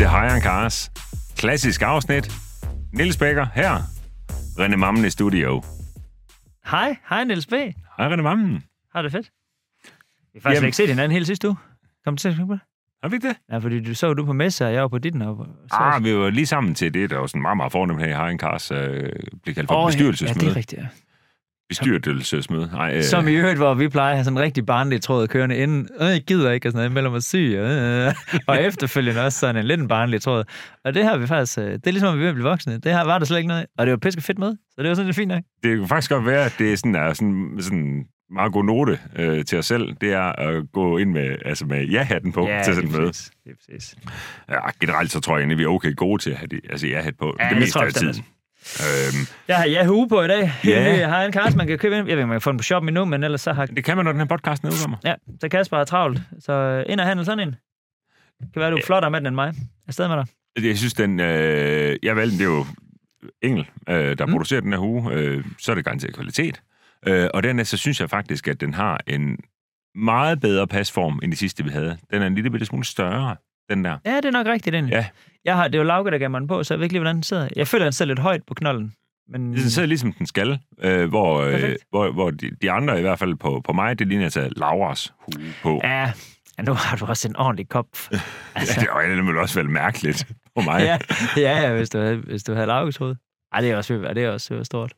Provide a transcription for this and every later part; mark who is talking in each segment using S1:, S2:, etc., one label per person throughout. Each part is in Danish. S1: Iron Cars. Klassisk afsnit. Nils Bækker her. René Mammen i studio.
S2: Hej, hej Niels B.
S1: Hej René Mammen.
S2: Har det fedt? Vi har faktisk
S1: Jamen.
S2: Jamen. ikke set hinanden hele sidste uge. Kom til at tænke på det.
S1: Har vi ikke det?
S2: Ja, fordi du så du på messe, og jeg var på dit og så...
S1: Ah, vi var lige sammen til det. Der var sådan meget, meget fornemt her i Iron Cars. Øh, blev kaldt for
S2: Åh,
S1: oh,
S2: ja, det
S1: bestyrelsesmøde.
S2: er rigtigt, ja.
S1: bestyrelsesmøde. Ej, øh,
S2: Som i øvrigt, hvor vi plejer at have sådan en rigtig barnlig tråd kørende inden. Øh, jeg gider ikke, og sådan noget, mellem mig syg. Og, øh, og efterfølgende også sådan en lidt en barnlig tråd. Og det har vi faktisk... øh, Det er ligesom, at vi er ved at blive voksne. Det her var der slet ikke noget af. Og det var piske fedt med, så det var sådan lidt fint nok.
S1: det kan faktisk godt være, at det er sådan, er sådan, sådan meget god note øh, til os selv, det er at gå ind med, altså med ja-hatten på ja, til sådan
S2: det
S1: noget.
S2: Det er præcis.
S1: Ja, generelt så tror jeg egentlig, vi er okay gode til at have det, altså ja-hat på.
S2: Ja,
S1: det,
S2: det
S1: meste
S2: tror jeg
S1: af
S2: bestemt
S1: tiden. Øhm,
S2: Jeg har Yahoo på i dag. Helt
S1: Ja.
S2: yeah. ny Iron Cars, man kan købe ind. Jeg ved ikke, om man kan få den på shoppen endnu, men ellers så har
S1: det kan man, når den her podcast udkommer.
S2: Ja, så Kasper er travlt. Så øh, ind og handle sådan en. Kan være, du er
S1: Øh.
S2: flottere med den end mig. Afsted med dig.
S1: Jeg synes, den... Øh, jeg valgte den, det er jo Engel, øh, der mm. producerer den her hue. Øh, så er det garanteret kvalitet. Øh, og dernæst, så synes jeg faktisk, at den har en meget bedre pasform end de sidste, vi havde. Den er en lille bitte smule større, den der.
S2: Ja, det er nok rigtigt, den.
S1: Ja.
S2: Jeg har, det er jo Lauke, der gav mig den på, så jeg ved ikke lige, hvordan den sidder. Jeg føler, den sidder lidt højt på knollen. Men
S1: Den sidder ligesom den skal, øh, hvor, øh,
S2: Perfekt.
S1: hvor, hvor de, de andre i hvert fald på, på mig, det ligner altså Lauras hue på. Ja,
S2: ja, ja, nu har du også en ordentlig kop.
S1: altså. det, og det ville også være mærkeligt på mig.
S2: ja,
S1: Ja,
S2: ja, ja, hvis du havde, hvis du havde Laukes hoved. Ej, det er også, det er også stort.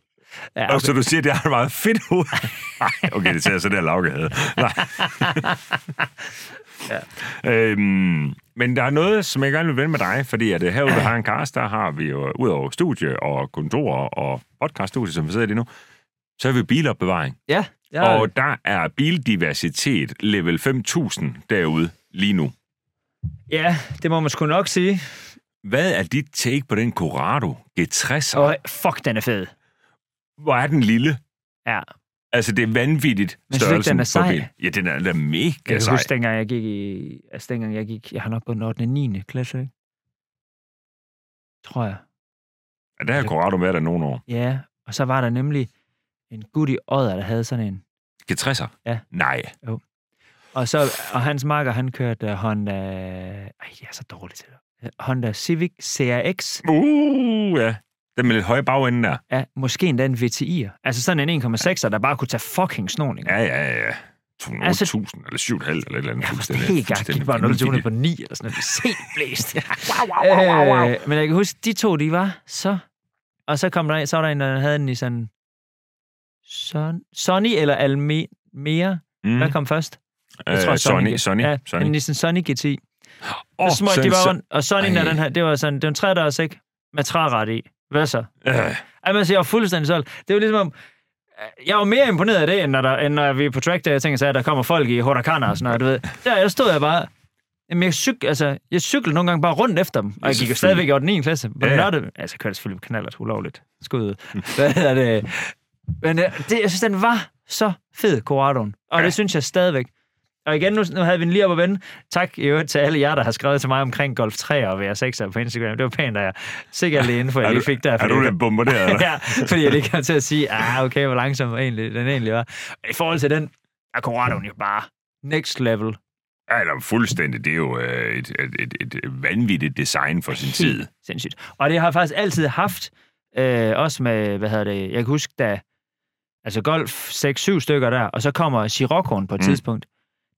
S2: Ja,
S1: okay. Så du siger, at det har et meget fedt hoved. Ej, okay, det ser så der Lauke havde. Nej.
S2: Ja.
S1: Øhm, men der er noget, som jeg gerne vil vende med dig, fordi at øh, herude ved Hagen Kars, der har vi jo øh, ud over studie og kontor og podcaststudie, som vi sidder i lige nu, så har vi bilopbevaring.
S2: ja, ja.
S1: Ja. Og der er bildiversitet level 5000 derude lige nu.
S2: ja, det må man sgu nok sige.
S1: Hvad er dit take på den Corrado G60?
S2: Og fuck, den er fed.
S1: Hvor er den lille?
S2: Ja.
S1: Altså, det er vanvittigt
S2: Men synes du ikke, den er sej?
S1: på bil. Ja, den er, den er
S2: Jeg
S1: mega
S2: kan
S1: sej.
S2: huske, dengang jeg gik i... Altså, dengang jeg gik... Jeg har nok gået den 8. og 9. klasse, ikke? Tror jeg.
S1: Ja, der har Corrado været der nogle år.
S2: Ja, og så var der nemlig en gut i Odder, der havde sådan en.
S1: G60'er?
S2: Ja.
S1: Nej.
S2: Og, så, og hans marker, han kørte øh, Honda... Ej, jeg er så dårlig til det. Øh, Honda Civic CRX.
S1: Uh, ja. Den med lidt høje bagende der.
S2: Ja, måske endda en VTI'er. Altså sådan en 1,6'er, der bare kunne tage fucking snoring. Ja,
S1: Ja, ja, ja. 200.000
S2: Altså-
S1: eller 7,5 eller et eller andet.
S2: jeg var sådan
S1: Fuldstændig-
S2: helt gang. Gik
S1: fuldstændig
S2: bare 0
S1: vanvittigt.
S2: på 9 eller sådan noget. Sent blæst. øh, men jeg kan huske, de to, de var så... Og så kom der, en- så var der en, der havde en i sådan... Son, Sonny eller Almere? Mm. Hvad kom først? Jeg tror,
S1: Øh, Sonny.
S2: G-
S1: Sonny.
S2: Ja,
S1: Sonny.
S2: en Nissan Sony GT. Oh,
S1: Åh,
S2: så smøg
S1: sådan
S2: de bare
S1: så-
S2: rundt, og Sony
S1: Ej.
S2: der den her, det var sådan, det var en trædørs, ikke? Med træret i. Hvad så?
S1: Øh.
S2: Jamen, altså, jeg var fuldstændig solgt. Det var ligesom om, jeg var mere imponeret af det, end når, der, end når vi er på track day, jeg tænker så, at der kommer folk i hurakaner og sådan noget, du ved. Der, der stod jeg bare, Jamen, jeg, cyk, altså, jeg cyklede nogle gange bare rundt efter dem, og jeg gik jo
S1: selvfølgelig.
S2: stadigvæk over den 9. klasse. På
S1: Ja,
S2: ja.
S1: ja.
S2: nørde, altså, jeg kørte selvfølgelig på knaller, ulovligt. Skud. Hvad hedder det? Men øh, det, jeg synes, den var så fed, Corradoen. Og ja.
S1: Ja.
S2: det synes jeg stadigvæk. Og igen, nu, nu havde vi den lige op at vende. Tak i øvrigt til alle jer, der har skrevet til mig omkring Golf 3 og VR6 på Instagram. Det var pænt af jer. Sikkert lige info, jeg
S1: Er
S2: lige
S1: du,
S2: fik der.
S1: er
S2: fordi
S1: du
S2: jeg-
S1: lidt bombarderet? eller?
S2: ja, fordi jeg lige kom til at sige, ah, okay, hvor langsom egentlig, den egentlig var. I forhold til den, er Corradoen jo bare next level.
S1: Ja, eller fuldstændig. Det er jo øh, et, et, et, et vanvittigt design for sin tid.
S2: Sindssygt. Og det har jeg faktisk altid haft, øh, også med, hvad hedder det, jeg kan huske, da, altså Golf 6-7 stykker der, og så kommer Sciroccoen på et
S1: Mm.
S2: mm. tidspunkt.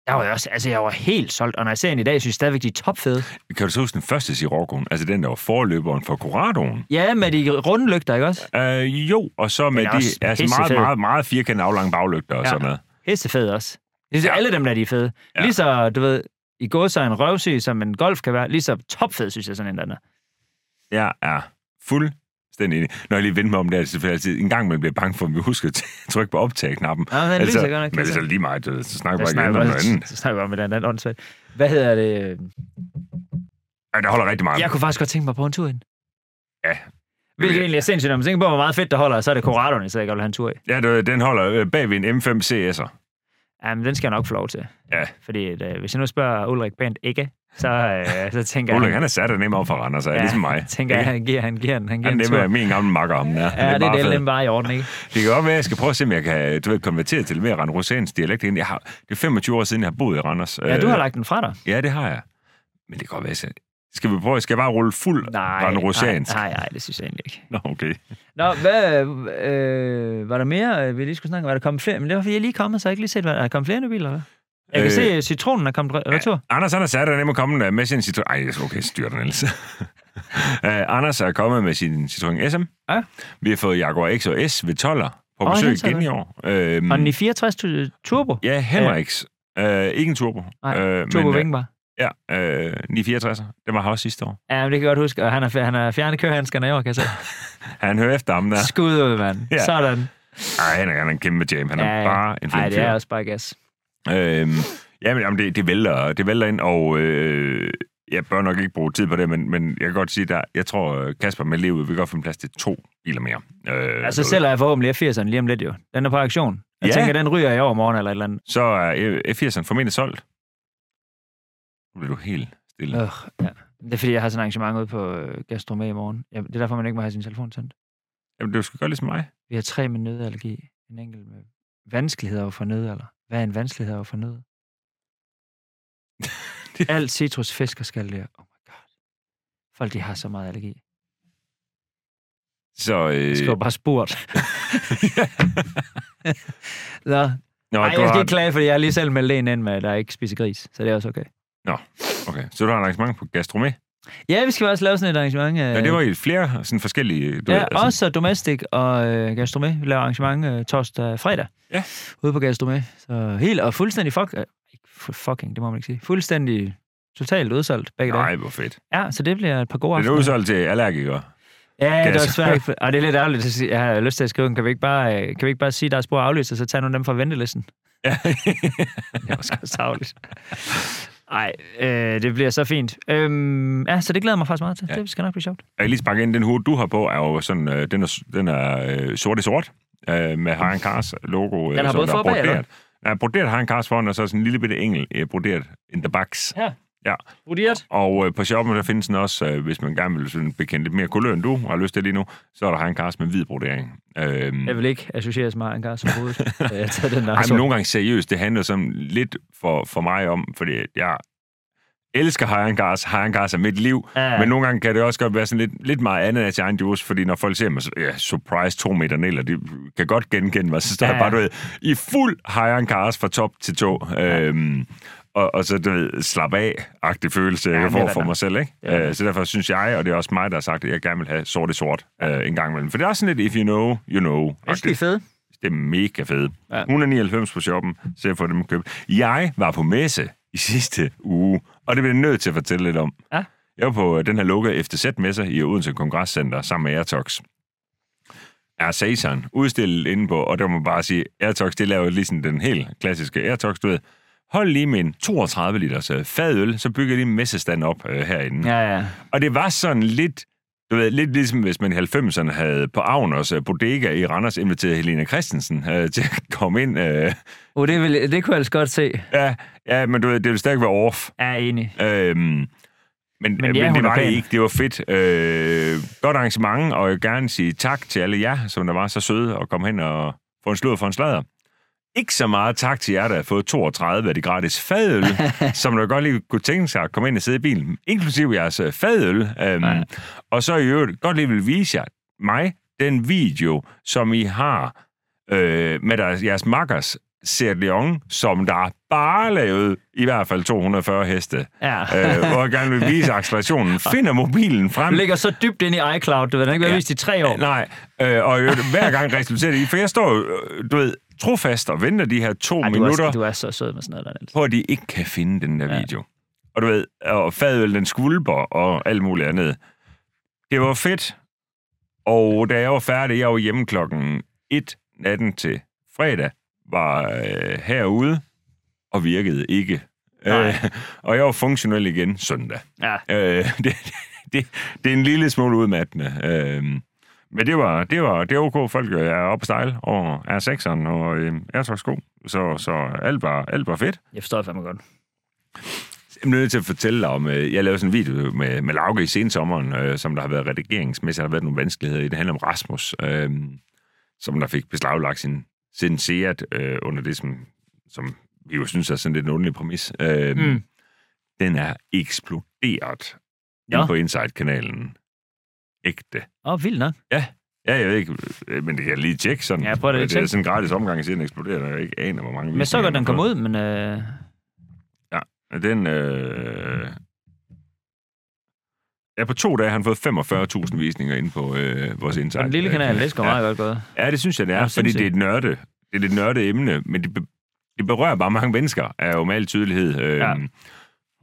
S2: Der var jeg også, altså jeg var helt solgt, og når jeg ser den i dag, synes jeg stadigvæk, de er topfede.
S1: Kan du så huske den første Siroccoen? Altså den, der var forløberen for Corradoen?
S2: Ja, med de runde lygter, ikke også?
S1: Øh, jo, og så med
S2: er også
S1: de altså meget,
S2: pissefed.
S1: meget, meget firkantede aflange baglygter og
S2: Ja.
S1: sådan noget.
S2: Hestefed også. Jeg synes,
S1: Ja.
S2: ja. alle dem der, de er fede.
S1: Ja.
S2: Ja. Lige så, du ved, i går så en røvsyg, som en golf kan være, lige så topfed, synes jeg sådan en der. er.
S1: Jeg er fuldstændig enig. Når jeg lige vender mig om det, er det selvfølgelig altid en gang, man bliver bange for, at vi husker at trykke på optag-knappen.
S2: Ja, den lyser godt nok.
S1: Altså,
S2: altså.
S1: men det er så lige meget, øh, så snakker
S2: Jeg
S1: vi bare igen om noget
S2: snakker,
S1: andet.
S2: bare, så snakker vi om et andet åndssvagt. Hvad hedder det?
S1: Ej, der holder rigtig meget.
S2: Jeg kunne faktisk godt tænke mig på en tur ind.
S1: Ja.
S2: Hvilket egentlig er sindssygt, når man tænker på, hvor meget fedt der holder, så er det Corradoen, jeg ikke vil have en tur i.
S1: Ja, du- den holder øh, bag ved en M5 CS'er.
S2: Jamen, den skal jeg nok få lov til.
S1: Ja.
S2: Fordi at, øh, hvis jeg nu spørger Ulrik Bent ikke, så, øh, så tænker
S1: Ulrik,
S2: jeg,
S1: han er sat og nem op for Randers, ja, ligesom mig.
S2: tænker jeg,
S1: Ikke?
S2: han giver, han giver, den- han giver
S1: Han
S2: en tur.
S1: nemmer min gamle makker om den her.
S2: Ja, det er
S1: bare
S2: det,
S1: fedt.
S2: den bare i orden, ikke?
S1: Det kan godt være, at jeg skal prøve at se, om jeg kan du ved, konvertere til mere Rand Rosens dialekt. ind. Jeg har, det er 25 år siden, jeg har boet i Randers. Øh,
S2: Ja, du har lagt den fra dig.
S1: Ja, det har jeg. Men det kan godt være, at jeg Skal vi prøve, skal jeg bare rulle fuld
S2: Nej,
S1: Rane
S2: nej,
S1: Rosiansk?
S2: nej, nej, det synes jeg egentlig ikke.
S1: Nå, okay.
S2: Nå, hvad, øh, var der mere, øh, vi lige skulle snakke om? Var der kommet flere? Men det var, fordi jeg lige kommet, så jeg har ikke lige set, hvad, er der kommet flere nye biler, eller hvad? Jeg kan
S1: Øh,
S2: øh, se, at citronen er kommet re- retur.
S1: Anders, Anders er der nemlig kommet med sin Citroën... Ej, okay, styr den ellers. uh, Anders er kommet med sin Citroën SM.
S2: Ja.
S1: Vi har fået Jaguar X og S ved 12'er på
S2: Åh,
S1: besøg
S2: helt sikkert.
S1: igen i år. Øhm,
S2: Og den i 64 tu- Turbo. Ja,
S1: Ja, Henriks. Øh, ikke en turbo.
S2: Nej,
S1: øh,
S2: turbo
S1: men, øh,
S2: Wing var.
S1: Ja, øh, 964. Den var her også sidste år.
S2: Ja, men det kan jeg godt huske. Og han har, han har fjernet kørehandskerne i år, kan jeg se.
S1: Han hører efter ham der.
S2: Skud ud, mand.
S1: Ja.
S2: Ja. Sådan.
S1: Ej, Henrik han er en kæmpe jam. Han er
S2: Ja, ja.
S1: bare en
S2: Nej,
S1: flink
S2: det er
S1: fyr.
S2: også bare gas.
S1: Øhm, jamen, jamen det, det, vælter, det vælter ind, og øh, jeg bør nok ikke bruge tid på det, men, men jeg kan godt sige, der, jeg tror, øh, Kasper med livet vil godt finde plads til to biler mere. Øh,
S2: Altså, selv er jeg forhåbentlig F80'eren lige om lidt, jo. Den er på aktion. Jeg
S1: Ja.
S2: ja. tænker, den ryger i overmorgen eller et eller andet.
S1: Så er øh, F80'eren formentlig solgt. Nu bliver du helt stille.
S2: Øh, ja. Det er fordi, jeg har sådan et arrangement ude på øh, Gastromé i morgen. Ja, det er derfor, man ikke må have sin telefon tændt.
S1: Jamen, du skal gøre ligesom mig.
S2: Vi har tre med nødallergi. En enkelt med vanskeligheder over for nødalder. Hvad er en vanskelighed over for nød? Alt citrus, fisk og skaldyr. Oh my god. Folk, de har så meget allergi.
S1: Så, øh,
S2: Jeg skal jo bare spurgt. Nå.
S1: Nå, du
S2: Ej, altså, jeg skal
S1: har-
S2: ikke klage, fordi jeg har lige selv meldt en ind med, at der ikke spiser gris. Så det er også okay.
S1: Okay, så du har et arrangement på Gastromé.
S2: Ja, vi skal også lave sådan et arrangement. Øh,
S1: Ja, det var i flere sådan forskellige... Du
S2: ja,
S1: ved, altså,
S2: også domestic og øh, gastronomé. Vi laver arrangement øh, torsdag og fredag.
S1: Ja.
S2: Ude på gastronomé. Så helt og fuldstændig fuck, øh, ikke fu- fucking, det må man ikke sige. Fuldstændig totalt udsolgt begge dage.
S1: Nej, hvor fedt.
S2: Ja, så det bliver et par gode
S1: Det er
S2: aftener.
S1: udsolgt til allergikere.
S2: Ja, det
S1: gas.
S2: er også svært. ikke- Og det er lidt ærgerligt at sige, jeg har lyst til at skrive, den. kan vi ikke bare, øh, kan vi ikke bare sige, der er spor aflyst, og så tage nogle af dem fra ventelisten?
S1: Ja.
S2: Det var sgu tavligt. Ej, øh, det bliver så fint. Øhm, ja, så det glæder jeg mig faktisk meget til.
S1: Ja.
S2: Ja. Det skal nok blive sjovt.
S1: Jeg kan lige sparke ind, den hue, du har på, er jo sådan, øh, den er, den er øh, sort i sort, øh, med Haran Kars logo. Øh,
S2: Mm. Den har
S1: som
S2: både
S1: der er
S2: for- og bag, eller?
S1: broderet. Nej, broderet Haran Kars foran, og så sådan en lille bitte engel øh, broderet in the box.
S2: Her.
S1: Ja.
S2: Vurderet.
S1: Og øh, på shoppen, der findes den også, øh, hvis man gerne vil sådan bekende lidt mere kulør, end du har lyst til lige nu, så er der Haran Kars med hvid brodering. Øh,
S2: Jeg vil ikke associeres med en gas overhovedet. Øh, jeg tager den der.
S1: Ej,
S2: sort.
S1: men nogle gange seriøst, det handler sådan lidt for, for mig om, fordi jeg elsker hejengars, hejengars er mit liv,
S2: Ja,
S1: ja.
S2: ja.
S1: men nogle gange kan det også godt være sådan lidt, lidt meget andet af sin egen juice, fordi når folk ser mig, så, ja, surprise, to meter ned, og de kan godt genkende mig, så står ja.
S2: Ja,
S1: jeg
S2: ja.
S1: bare, du ved, i fuld hejengars fra top til tå, øhm, og, og så, du ved, slap af-agtig følelse, ja,
S2: Ja,
S1: jeg
S2: men det
S1: får
S2: er
S1: for
S2: der.
S1: mig selv, ikke?
S2: Ja.
S1: Ja. Øh, så derfor synes jeg, og det er også mig, der har sagt, at jeg gerne vil have sort i sort øh, en gang imellem. For det er også sådan lidt, if you know, you know.
S2: Jeg synes, de er fede.
S1: Det er mega fedt. Ja.
S2: Ja.
S1: 199 på shoppen, så jeg får dem købt. Jeg var på messe i sidste uge, og det bliver jeg nødt til at fortælle lidt om.
S2: Ja.
S1: Jeg var på øh, den her lukkede FTZ-messe i Odense Kongresscenter sammen med Airtox. Er Saison udstillet inde på, og der må man bare sige, Airtox, det laver jo lige sådan den helt klassiske Airtox, du ved. Hold lige med en 32 liters øh, fadøl, så bygger de en messestand op øh, herinde.
S2: Ja, ja.
S1: Og det var sådan lidt, du ved, lidt ligesom hvis man i 90'erne havde på Agners øh, bodega i Randers inviteret Helena Christensen øh, til at komme ind. Øh,
S2: Oh, det, vil, det kunne jeg altså godt se.
S1: ja, ja, men du ved, det ville stadig være off.
S2: Ja, enig.
S1: Øhm, men, men, ja, men det
S2: hun er
S1: var det
S2: pæn.
S1: ikke. Det var fedt. Øh, godt arrangement, og jeg vil gerne sige tak til alle jer, som der var så søde at komme hen og få en slud for en sladder. Ikke så meget tak til jer, der har fået 32 af de gratis fadøl, som der godt lige kunne tænke sig at komme ind og sidde i bilen, inklusive jeres øh, fadøl. Øhm,
S2: Ja.
S1: og så i øvrigt godt lige vil vise jer, mig, den video, som I har øh, med deres, jeres makkers Seat Leon, som der bare lavede i hvert fald 240 heste
S2: Ja.
S1: øh, hvor jeg gerne vil vise accelerationen, finder mobilen
S2: Du
S1: frem.
S2: ligger så dybt ind i iCloud, du ved, den har ikke været
S1: Ja.
S2: ja. vist i tre år.
S1: Nej, øh, og i øvrigt, hver gang resulterer det i, for jeg står jo, øh, du ved, trofast og venter de her to
S2: Ej, du,
S1: minutter,
S2: er, du er så sød med sådan noget der, Niels.
S1: på at de ikke kan finde den der
S2: Ja.
S1: video. Og du ved, og fadøl den skvulper og alt muligt andet. Det var fedt, og da jeg var færdig, jeg var hjemme klokken 1 natten til fredag, var øh, herude og virkede ikke.
S2: Nej.
S1: Øh, og jeg var funktionel igen søndag.
S2: Ja.
S1: Øh, det, det, det er en lille smule udmattende. Øh, men det var, det var, det var ok. Folk er oppe og style over R6'eren og øh, R-sko. Så, så alt, var, alt var fedt.
S2: Jeg forstår det fandme godt.
S1: Jeg er nødt til at fortælle dig om, øh, jeg lavede sådan en video med, med Lauke i sensommeren, øh, som der har været redigeringsmæssigt, der har været nogle vanskeligheder i. Det handler om Rasmus, øh, som der fik beslaglagt sin, sin Seat øh, under det, som, som vi Øhm, jo synes er sådan lidt en underlig præmis. Øh, mm.
S2: Mm.
S1: Den er eksploderet ja.
S2: Nå.
S1: inde på Inside-kanalen. Ægte.
S2: Åh, oh, vildt nok.
S1: Ja, jeg ved ikke, øh, men det kan jeg lige tjekke sådan.
S2: Ja, prøv det.
S1: Det er sådan en gratis omgang, siden den eksploderer, og jeg ikke aner, hvor mange
S2: Men så
S1: visninger
S2: godt, den
S1: har
S2: kom ud, men... Øh,
S1: fået. Den øh... Ja, på to dage har han fået 45.000 visninger inde på øh, vores Inside.
S2: den lille kanal, det skal
S1: ja.
S2: meget godt gået.
S1: Ja, det synes jeg, det er,
S2: Ja,
S1: ja, fordi det er
S2: sindssygt.
S1: et nørde. Det er et nørde emne, men det, be, det berører bare mange mennesker, er jo med al tydelighed. Øhm,
S2: Ja.
S1: ja.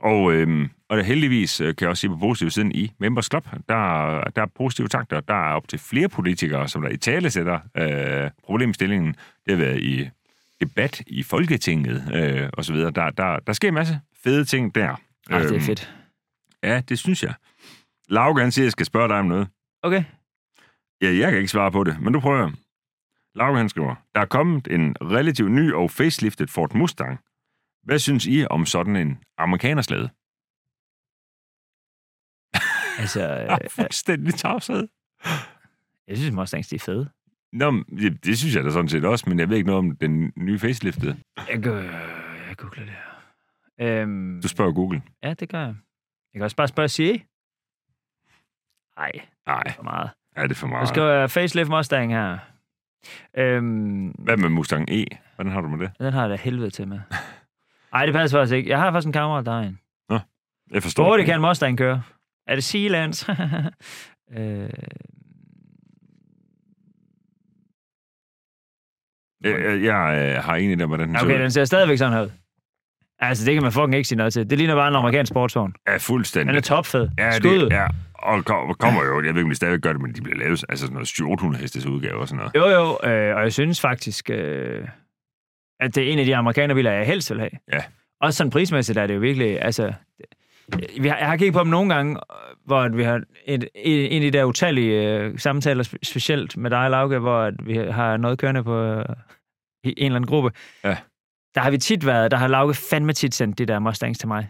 S1: Og, øhm, og heldigvis øh, kan jeg også sige på positiv siden i Members Club, der, der er positive takter. Der er op til flere politikere, som der i tale sætter øh, problemstillingen. Det har været i debat i Folketinget øh, og så videre. Der, der, der sker en masse fede ting der.
S2: Ej, Ah, det er
S1: Øhm,
S2: fedt.
S1: Ja, det synes jeg. Lauke, han siger, at jeg skal spørge dig om noget.
S2: Okay.
S1: Ja, jeg kan ikke svare på det, men du prøver. Lauke, han skriver, der er kommet en relativt ny og faceliftet Ford Mustang. Hvad synes I om sådan en amerikanerslæde?
S2: Altså, øh,
S1: Ja, fuldstændig tavshed.
S2: jeg synes, Mustangs, de er fede.
S1: Nå, men det, det synes jeg da sådan set også, men jeg ved ikke noget om den nye faceliftede.
S2: Jeg, går, jeg googler det her. Øhm,
S1: Du spørger Google.
S2: ja, det gør jeg. Jeg kan også bare spørge Siri. Nej,
S1: Nej,
S2: for meget.
S1: er det er for
S2: Nu
S1: meget?
S2: skal jeg facelift Mustang her. Øhm,
S1: Hvad med Mustang E? Hvordan har du med det?
S2: den har jeg da helvede til med. Nej, det passer faktisk ikke. Jeg har faktisk en kammerat, der er en.
S1: Jeg forstår
S2: Hvor
S1: det
S2: det kan en Mustang køre? Er det Sealands? øh,
S1: Jeg, jeg, jeg øh, har en idé om, hvordan den ser
S2: okay,
S1: ud.
S2: den ser stadigvæk sådan her ud. Altså, det kan man fucking ikke sige noget til. Det ligner bare en amerikansk sportsvogn.
S1: Er
S2: Den
S1: fuldstændig.
S2: er topfed.
S1: Ja,
S2: Skud.
S1: det er. Og kom- kommer jo, jeg ved ikke, om de stadigvæk gør det, men de bliver lavet, altså sådan noget 700 hestes udgave og sådan noget.
S2: Jo, jo, øh, og jeg synes faktisk, øh, at det er en af de amerikanerbiler, jeg helst vil have.
S1: Ja.
S2: Også sådan prismæssigt er det jo virkelig, altså... øh, Vi har, jeg har kigget på dem nogle gange, øh, hvor at vi har et, en, en af de der utallige øh, samtaler, spe- specielt med dig, Lauke, hvor at vi har noget kørende på øh, i en eller anden gruppe.
S1: Ja.
S2: Der har vi tit været, der har Lauke fandme tit sendt de der Mustangs til mig.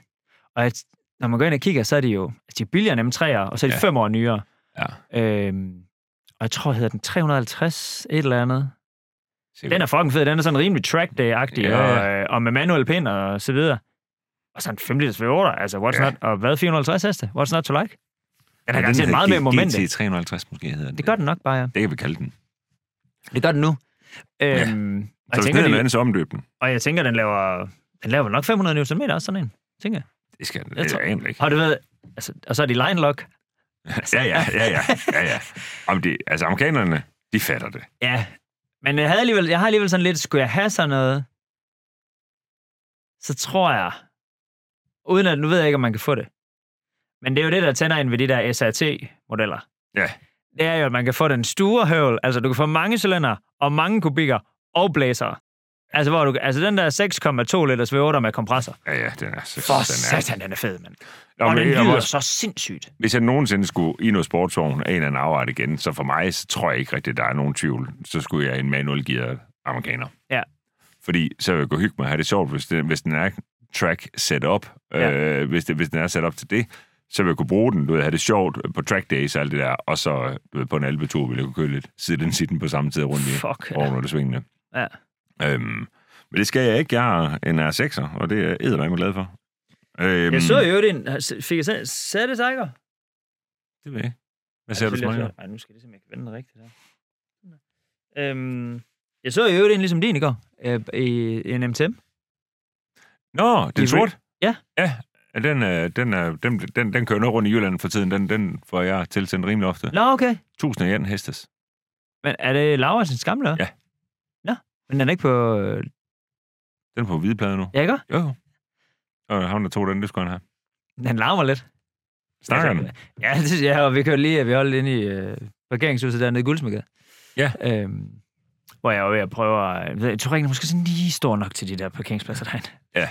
S2: Og at, når man går ind og kigger, så er de jo altså, de er billigere end M3'er, og så er de
S1: Ja.
S2: ja. fem år nyere.
S1: Ja.
S2: Øhm, og jeg tror, hedder den 350 et eller andet. Den er fucking fed. Den er sådan rimelig track day-agtig,
S1: Ja,
S2: ja,
S1: ja.
S2: Og, øh, og med manuel pind og så videre. Og sådan 5 liters V8, altså what's
S1: Ja.
S2: ja. not, og hvad 450 heste? What's not to like? Den
S1: Ja,
S2: har garanteret
S1: hedder
S2: meget mere
S1: G-
S2: moment.
S1: GT 350 måske hedder den.
S2: Det gør den nok bare, ja.
S1: Det kan vi kalde den.
S2: Det gør den nu.
S1: Ja.
S2: Øhm, og,
S1: Så
S2: jeg
S1: hvis
S2: tænker,
S1: det er noget
S2: de,
S1: andet, så omdøb den.
S2: og jeg tænker, den laver, den laver nok 500 Nm også, sådan en. Tænker. jeg.
S1: Det skal den.
S2: Jeg
S1: Det
S2: tror-
S1: er ikke.
S2: Har du været... Altså, og så er de line lock.
S1: Ja, ja, ja, ja. ja, ja. Om det, altså, amerikanerne, de fatter det.
S2: Ja, men jeg, havde alligevel, jeg har alligevel sådan lidt, skulle jeg have sådan noget, så tror jeg, uden at, nu ved jeg ikke, om man kan få det, men det er jo det, der tænder ind ved de der SRT-modeller.
S1: Ja.
S2: Det er jo, at man kan få den store høvl, altså du kan få mange cylinder og mange kubikker og blæsere. Altså, hvor du, altså den der 6,2 liters V8 med kompressor.
S1: Ja, ja, den er så...
S2: For
S1: den er.
S2: satan, den er fed, mand.
S1: Nå,
S2: Og
S1: men
S2: den
S1: jeg må
S2: lyder
S1: også-
S2: så sindssygt.
S1: Hvis jeg nogensinde skulle i noget sportsvogn af en eller anden afart igen, så for mig, så tror jeg ikke rigtigt, der er nogen tvivl. Så skulle jeg en manuel gearet amerikaner.
S2: Ja.
S1: Fordi så vil jeg gå og hygge mig og have det sjovt, hvis, det, hvis den er track set up.
S2: Ja.
S1: Øh, hvis, det, hvis den er set op til det, så vil jeg kunne bruge den, du ved, have det sjovt på track days og alt det der, og så du ved, på en alpetur vil jeg kunne køre lidt siden den på samme tid rundt i Øhm.
S2: Fuck.
S1: over under det svingende.
S2: Ja.
S1: Øhm, men det skal jeg ikke. Jeg er en R6'er, og det er jeg mig glad for. Øhm,
S2: Jeg så jo den. Fik jeg selv... Sætte tiger?
S1: Det ved jeg. ikke. Hvad
S2: Ej,
S1: ser du
S2: selvfølgelig
S1: smager?
S2: er flot. Ej, nu skal det simpelthen vende den rigtigt her. Øhm, jeg så i øvrigt en ligesom din i går, øh, i i en MTM.
S1: Nå, den
S2: I
S1: er sort?
S2: Ja.
S1: Ja, den, øh, den, øh, den, den, den kører noget rundt i Jylland for tiden. Den, den får jeg tilsendt rimelig ofte.
S2: Nå, okay.
S1: 1001 hestes.
S2: Men er det Lauritsens gamle?
S1: Ja.
S2: Nå, men den er ikke på... øh,
S1: Den er på hvide plade nu.
S2: Ja, ikke?
S1: Jo, jo. Og ham, der tog den, det skulle han have.
S2: Den Mm. larmer lidt.
S1: Snakker den?
S2: Ja, det, ja, og vi kørte lige, at vi holdt inde i øh, parkeringshuset dernede i Guldsmykket.
S1: Ja.
S2: Øhm, hvor jeg var ved at prøve at... Jeg tror ikke, den er måske sådan lige stor nok til de der parkeringspladser derinde.
S1: Ja.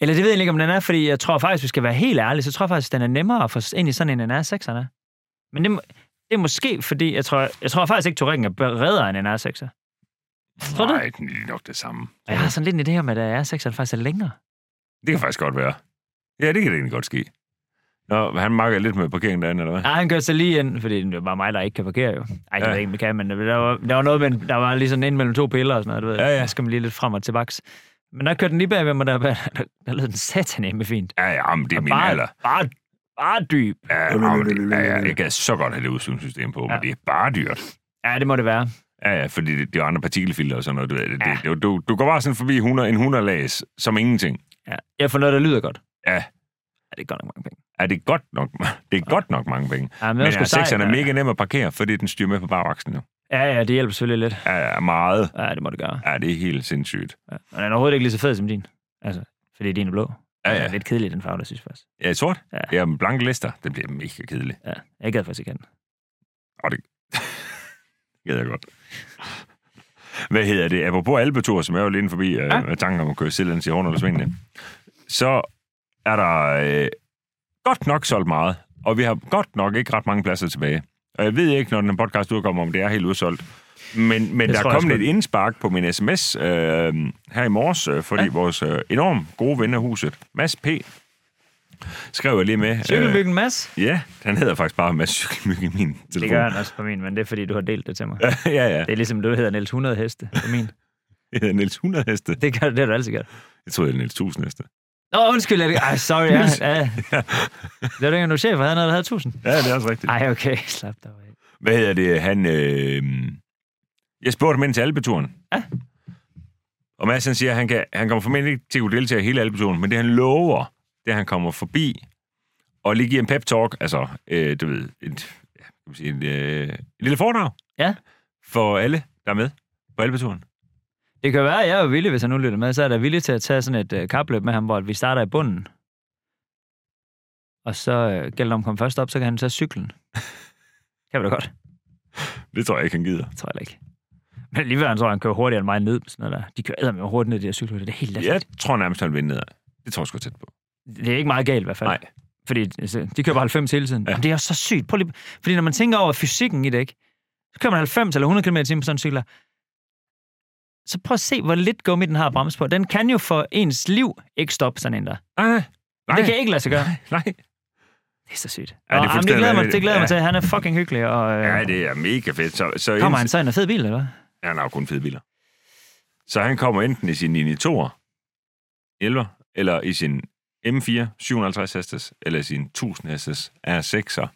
S2: Eller det ved jeg ikke, om den er, fordi jeg tror faktisk, vi skal være helt ærlige, så tror jeg faktisk, den er nemmere at få ind i sådan en NR6'er. er. Men det, må- det er måske, fordi jeg tror, jeg tror faktisk ikke, Touringen er bedre end en R6'er. Tror du?
S1: Nej, den er lige nok det samme.
S2: Og jeg har sådan lidt en idé om, at R6'eren faktisk er længere.
S1: Det kan faktisk godt være. Ja, det kan det egentlig godt ske. Nå, han makker lidt med parkeringen derinde, eller hvad?
S2: Nej, han kørte sig lige ind, fordi det var bare mig, der ikke kan parkere jo. Ej, det
S1: Ja.
S2: ja. ved jeg ikke, om jeg kan, men der var, der var noget med, en- der var lige sådan ind mellem to piller og sådan noget, du ved.
S1: Ja, ja.
S2: Der skal man lige lidt frem og tilbage. Men der kørte den lige bagved mig, der, der, der, der lød den satanemme fint.
S1: Ja, ja, men det er
S2: Og
S1: min
S2: bare,
S1: alder.
S2: Bare bare dyb.
S1: Ja, jamen, ja, ja, jeg kan så godt have det udsugningssystem på, ja. men det er bare dyrt.
S2: Ja, det må det være.
S1: Ja, ja, fordi det, det er andre partikelfilter og sådan noget. Du, ved, det, ja. det, du, du går bare sådan forbi 100, en 100 lags, som ingenting.
S2: Ja. Jeg får noget, der lyder godt.
S1: Ja,
S2: Ja, det er godt nok mange penge.
S1: er det godt nok, det er godt nok mange penge.
S2: Ja,
S1: Men
S2: det var
S1: ja,
S2: sejt,
S1: sekseren er
S2: ja.
S1: mega nem at parkere, fordi den styrer med på bagakslen nu.
S2: Ja, ja, det hjælper selvfølgelig lidt.
S1: Ja, ja, meget.
S2: Ja, det må det gøre.
S1: Ja, det er helt sindssygt.
S2: Ja. Og den er overhovedet ikke lige så fed som din. Altså, fordi din er blå.
S1: Ja,
S2: Den
S1: ja.
S2: er lidt kedelig, den farve, der synes jeg faktisk.
S1: Ja, sort?
S2: Ja.
S1: Ja, men blanke lister. Det bliver mega kedeligt.
S2: Ja, jeg gad faktisk ikke have den.
S1: Øh, Det ved jeg godt. Hvad hedder det? Apropos alpetur, som jeg var lidt inde forbi, ja. øh, med tanken om at køre silden i hånden eller svingene, så er der øh, godt nok solgt meget, og vi har godt nok ikke ret mange pladser tilbage. Og jeg ved ikke, når den her podcast udkommer, om det er helt udsolgt. Men, men der
S2: tror
S1: er
S2: jeg
S1: kommet
S2: sgu
S1: et indspark på min sms øh, her i morges, øh, fordi ja. vores øh, enormt gode ven af huset, Mads P., skrev jeg lige med. Øh,
S2: Cykelbyggen Mads?
S1: ja, han hedder faktisk bare Mads Cykelmyg i min telefon.
S2: Det gør han også på min, men det er fordi, du har delt det til mig.
S1: ja, ja.
S2: Det er ligesom, du hedder Niels 100 heste på min.
S1: Det hedder Niels 100 heste.
S2: Det gør det, har du altid gjort.
S1: Jeg troede, det var Niels 1000 næste.
S2: Nå, undskyld, jeg, ej, sorry. Ja, ja. Det var dengang, du chef, han havde 1000.
S1: Ja, det er også rigtigt.
S2: Ej, okay, slap dig af.
S1: Hvad hedder det? Han, øh... Jeg spurgte ham ind til alpeturen.
S2: Ja.
S1: Og Mads han siger, at han, kan, han kommer formentlig ikke til at kunne deltage i hele alpeturen, men det han lover, det er, at han kommer forbi og lige giver en pep-talk, altså, øh, du ved, et, ja, kan man sige, et, øh, et lille foredrag
S2: Ja.
S1: for alle, der er med på alpeturen.
S2: Det kan være, at jeg er villig, hvis han nu lytter med, så er der villig til at tage sådan et øh, kapløb med ham, hvor vi starter i bunden. Og så øh, gælder det om at komme først op, så kan han tage cyklen. Kan vi da godt.
S1: Det tror jeg ikke, han gider.
S2: tror jeg ikke. Men alligevel han tror jeg, han kører hurtigere end mig ned. med Sådan noget der. De kører med hurtigt ned, de her cykler. Det er helt
S1: Jeg
S2: latterligt.
S1: tror nærmest, han vil ned. Det tror jeg sgu tæt på.
S2: Det er ikke meget galt i hvert fald.
S1: Nej.
S2: Fordi altså, de kører bare 90 hele tiden. Ja. Jamen, det er også så sygt. Prøv lige... Fordi når man tænker over fysikken i det, ikke? så kører man 90 eller 100 km i timen på sådan en cykel. her. Så prøv at se, hvor lidt gummi den har at bremse på. Den kan jo for ens liv ikke stoppe sådan en der.
S1: Nej, nej. Nej,
S2: Det kan ikke lade sig gøre.
S1: nej.
S2: Det er så sygt.
S1: Ja, det er
S2: Nå, jamen, det
S1: fuldstændig
S2: glæder, mig,
S1: vanvittigt.
S2: det glæder ja. mig
S1: Ja.
S2: til. Han er fucking hyggelig. Og, øh,
S1: Ja, det er mega fedt. Så, så
S2: kommer han så i en fed bil, eller hvad?
S1: Ja, han har jo kun fede biler. Så han kommer enten i sin 92'er, 11'er, eller i sin M4 750 hestes, eller i sin 1000 hestes R6'er.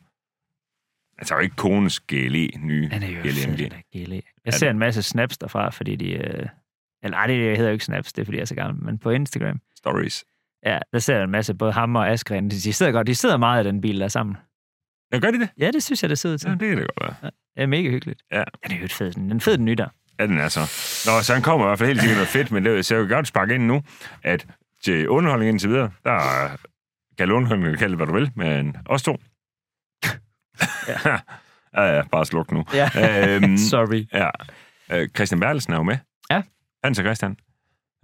S1: Altså jo ikke konens GLE nye E
S2: Han er jo altså. fed, den
S1: GLMG.
S2: der GLE. Jeg ser en masse snaps derfra, fordi de... Øh, eller nej, det hedder jo ikke snaps, det er fordi jeg er så gammel, men på Instagram,
S1: Stories.
S2: ja, der ser jeg en masse, både ham og Askren, de, de sidder godt, de sidder meget i den bil der sammen.
S1: Ja, gør de det?
S2: Ja, det synes jeg, det sidder til.
S1: Ja, det kan det godt være.
S2: Det er mega hyggeligt.
S1: Ja.
S2: det er jo et fed, den fed den nye der.
S1: Ja, den er så. Nå, så han kommer i hvert fald helt sikkert noget fedt, men det så jeg vil godt sparke ind nu, at til underholdning indtil videre, der er- kald underholdning, kald det, hvad du vil, men os to. ja. ja, ja, bare sluk nu.
S2: Ja.
S1: Øhm,
S2: Sorry.
S1: Ja. Øh, Christian Bertelsen er jo med.
S2: Ja.
S1: Hans og Christian.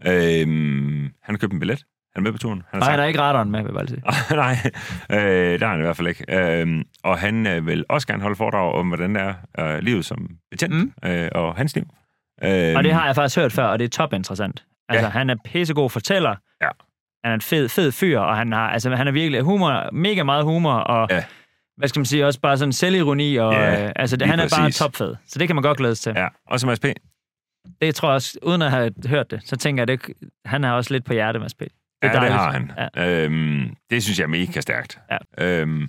S1: Øhm, han har købt en billet. Han er med på turen. Han
S2: Nej,
S1: har
S2: der er ikke radaren med, vil jeg bare lige sige.
S1: sagt, nej. Øh, der er han i hvert fald ikke. Øhm, og han øh, vil også gerne holde foredrag om, hvordan det er øh, livet som betjent
S2: Mm.
S1: øh, og hans liv. Øhm,
S2: Og det har jeg faktisk hørt før, og det er top interessant. Altså,
S1: Ja.
S2: ja. han er pissegod fortæller.
S1: Ja.
S2: Han er en fed, fed fyr, og han har, altså, han er virkelig humor, mega meget humor, og
S1: Ja.
S2: hvad skal man sige, også bare sådan selvironi, og
S1: Ja,
S2: øh, altså, det,
S1: lige
S2: han er bare
S1: præcis.
S2: topfed. Så det kan man godt glædes til.
S1: Ja, og som SP.
S2: Det tror jeg også, uden at have hørt det, så tænker jeg, at det, han har også lidt på hjerte, Mads P. Det
S1: Ja, det
S2: dejligt.
S1: har han.
S2: Ja.
S1: Ja. Øhm, det synes jeg er mega stærkt.
S2: Ja.
S1: Øhm,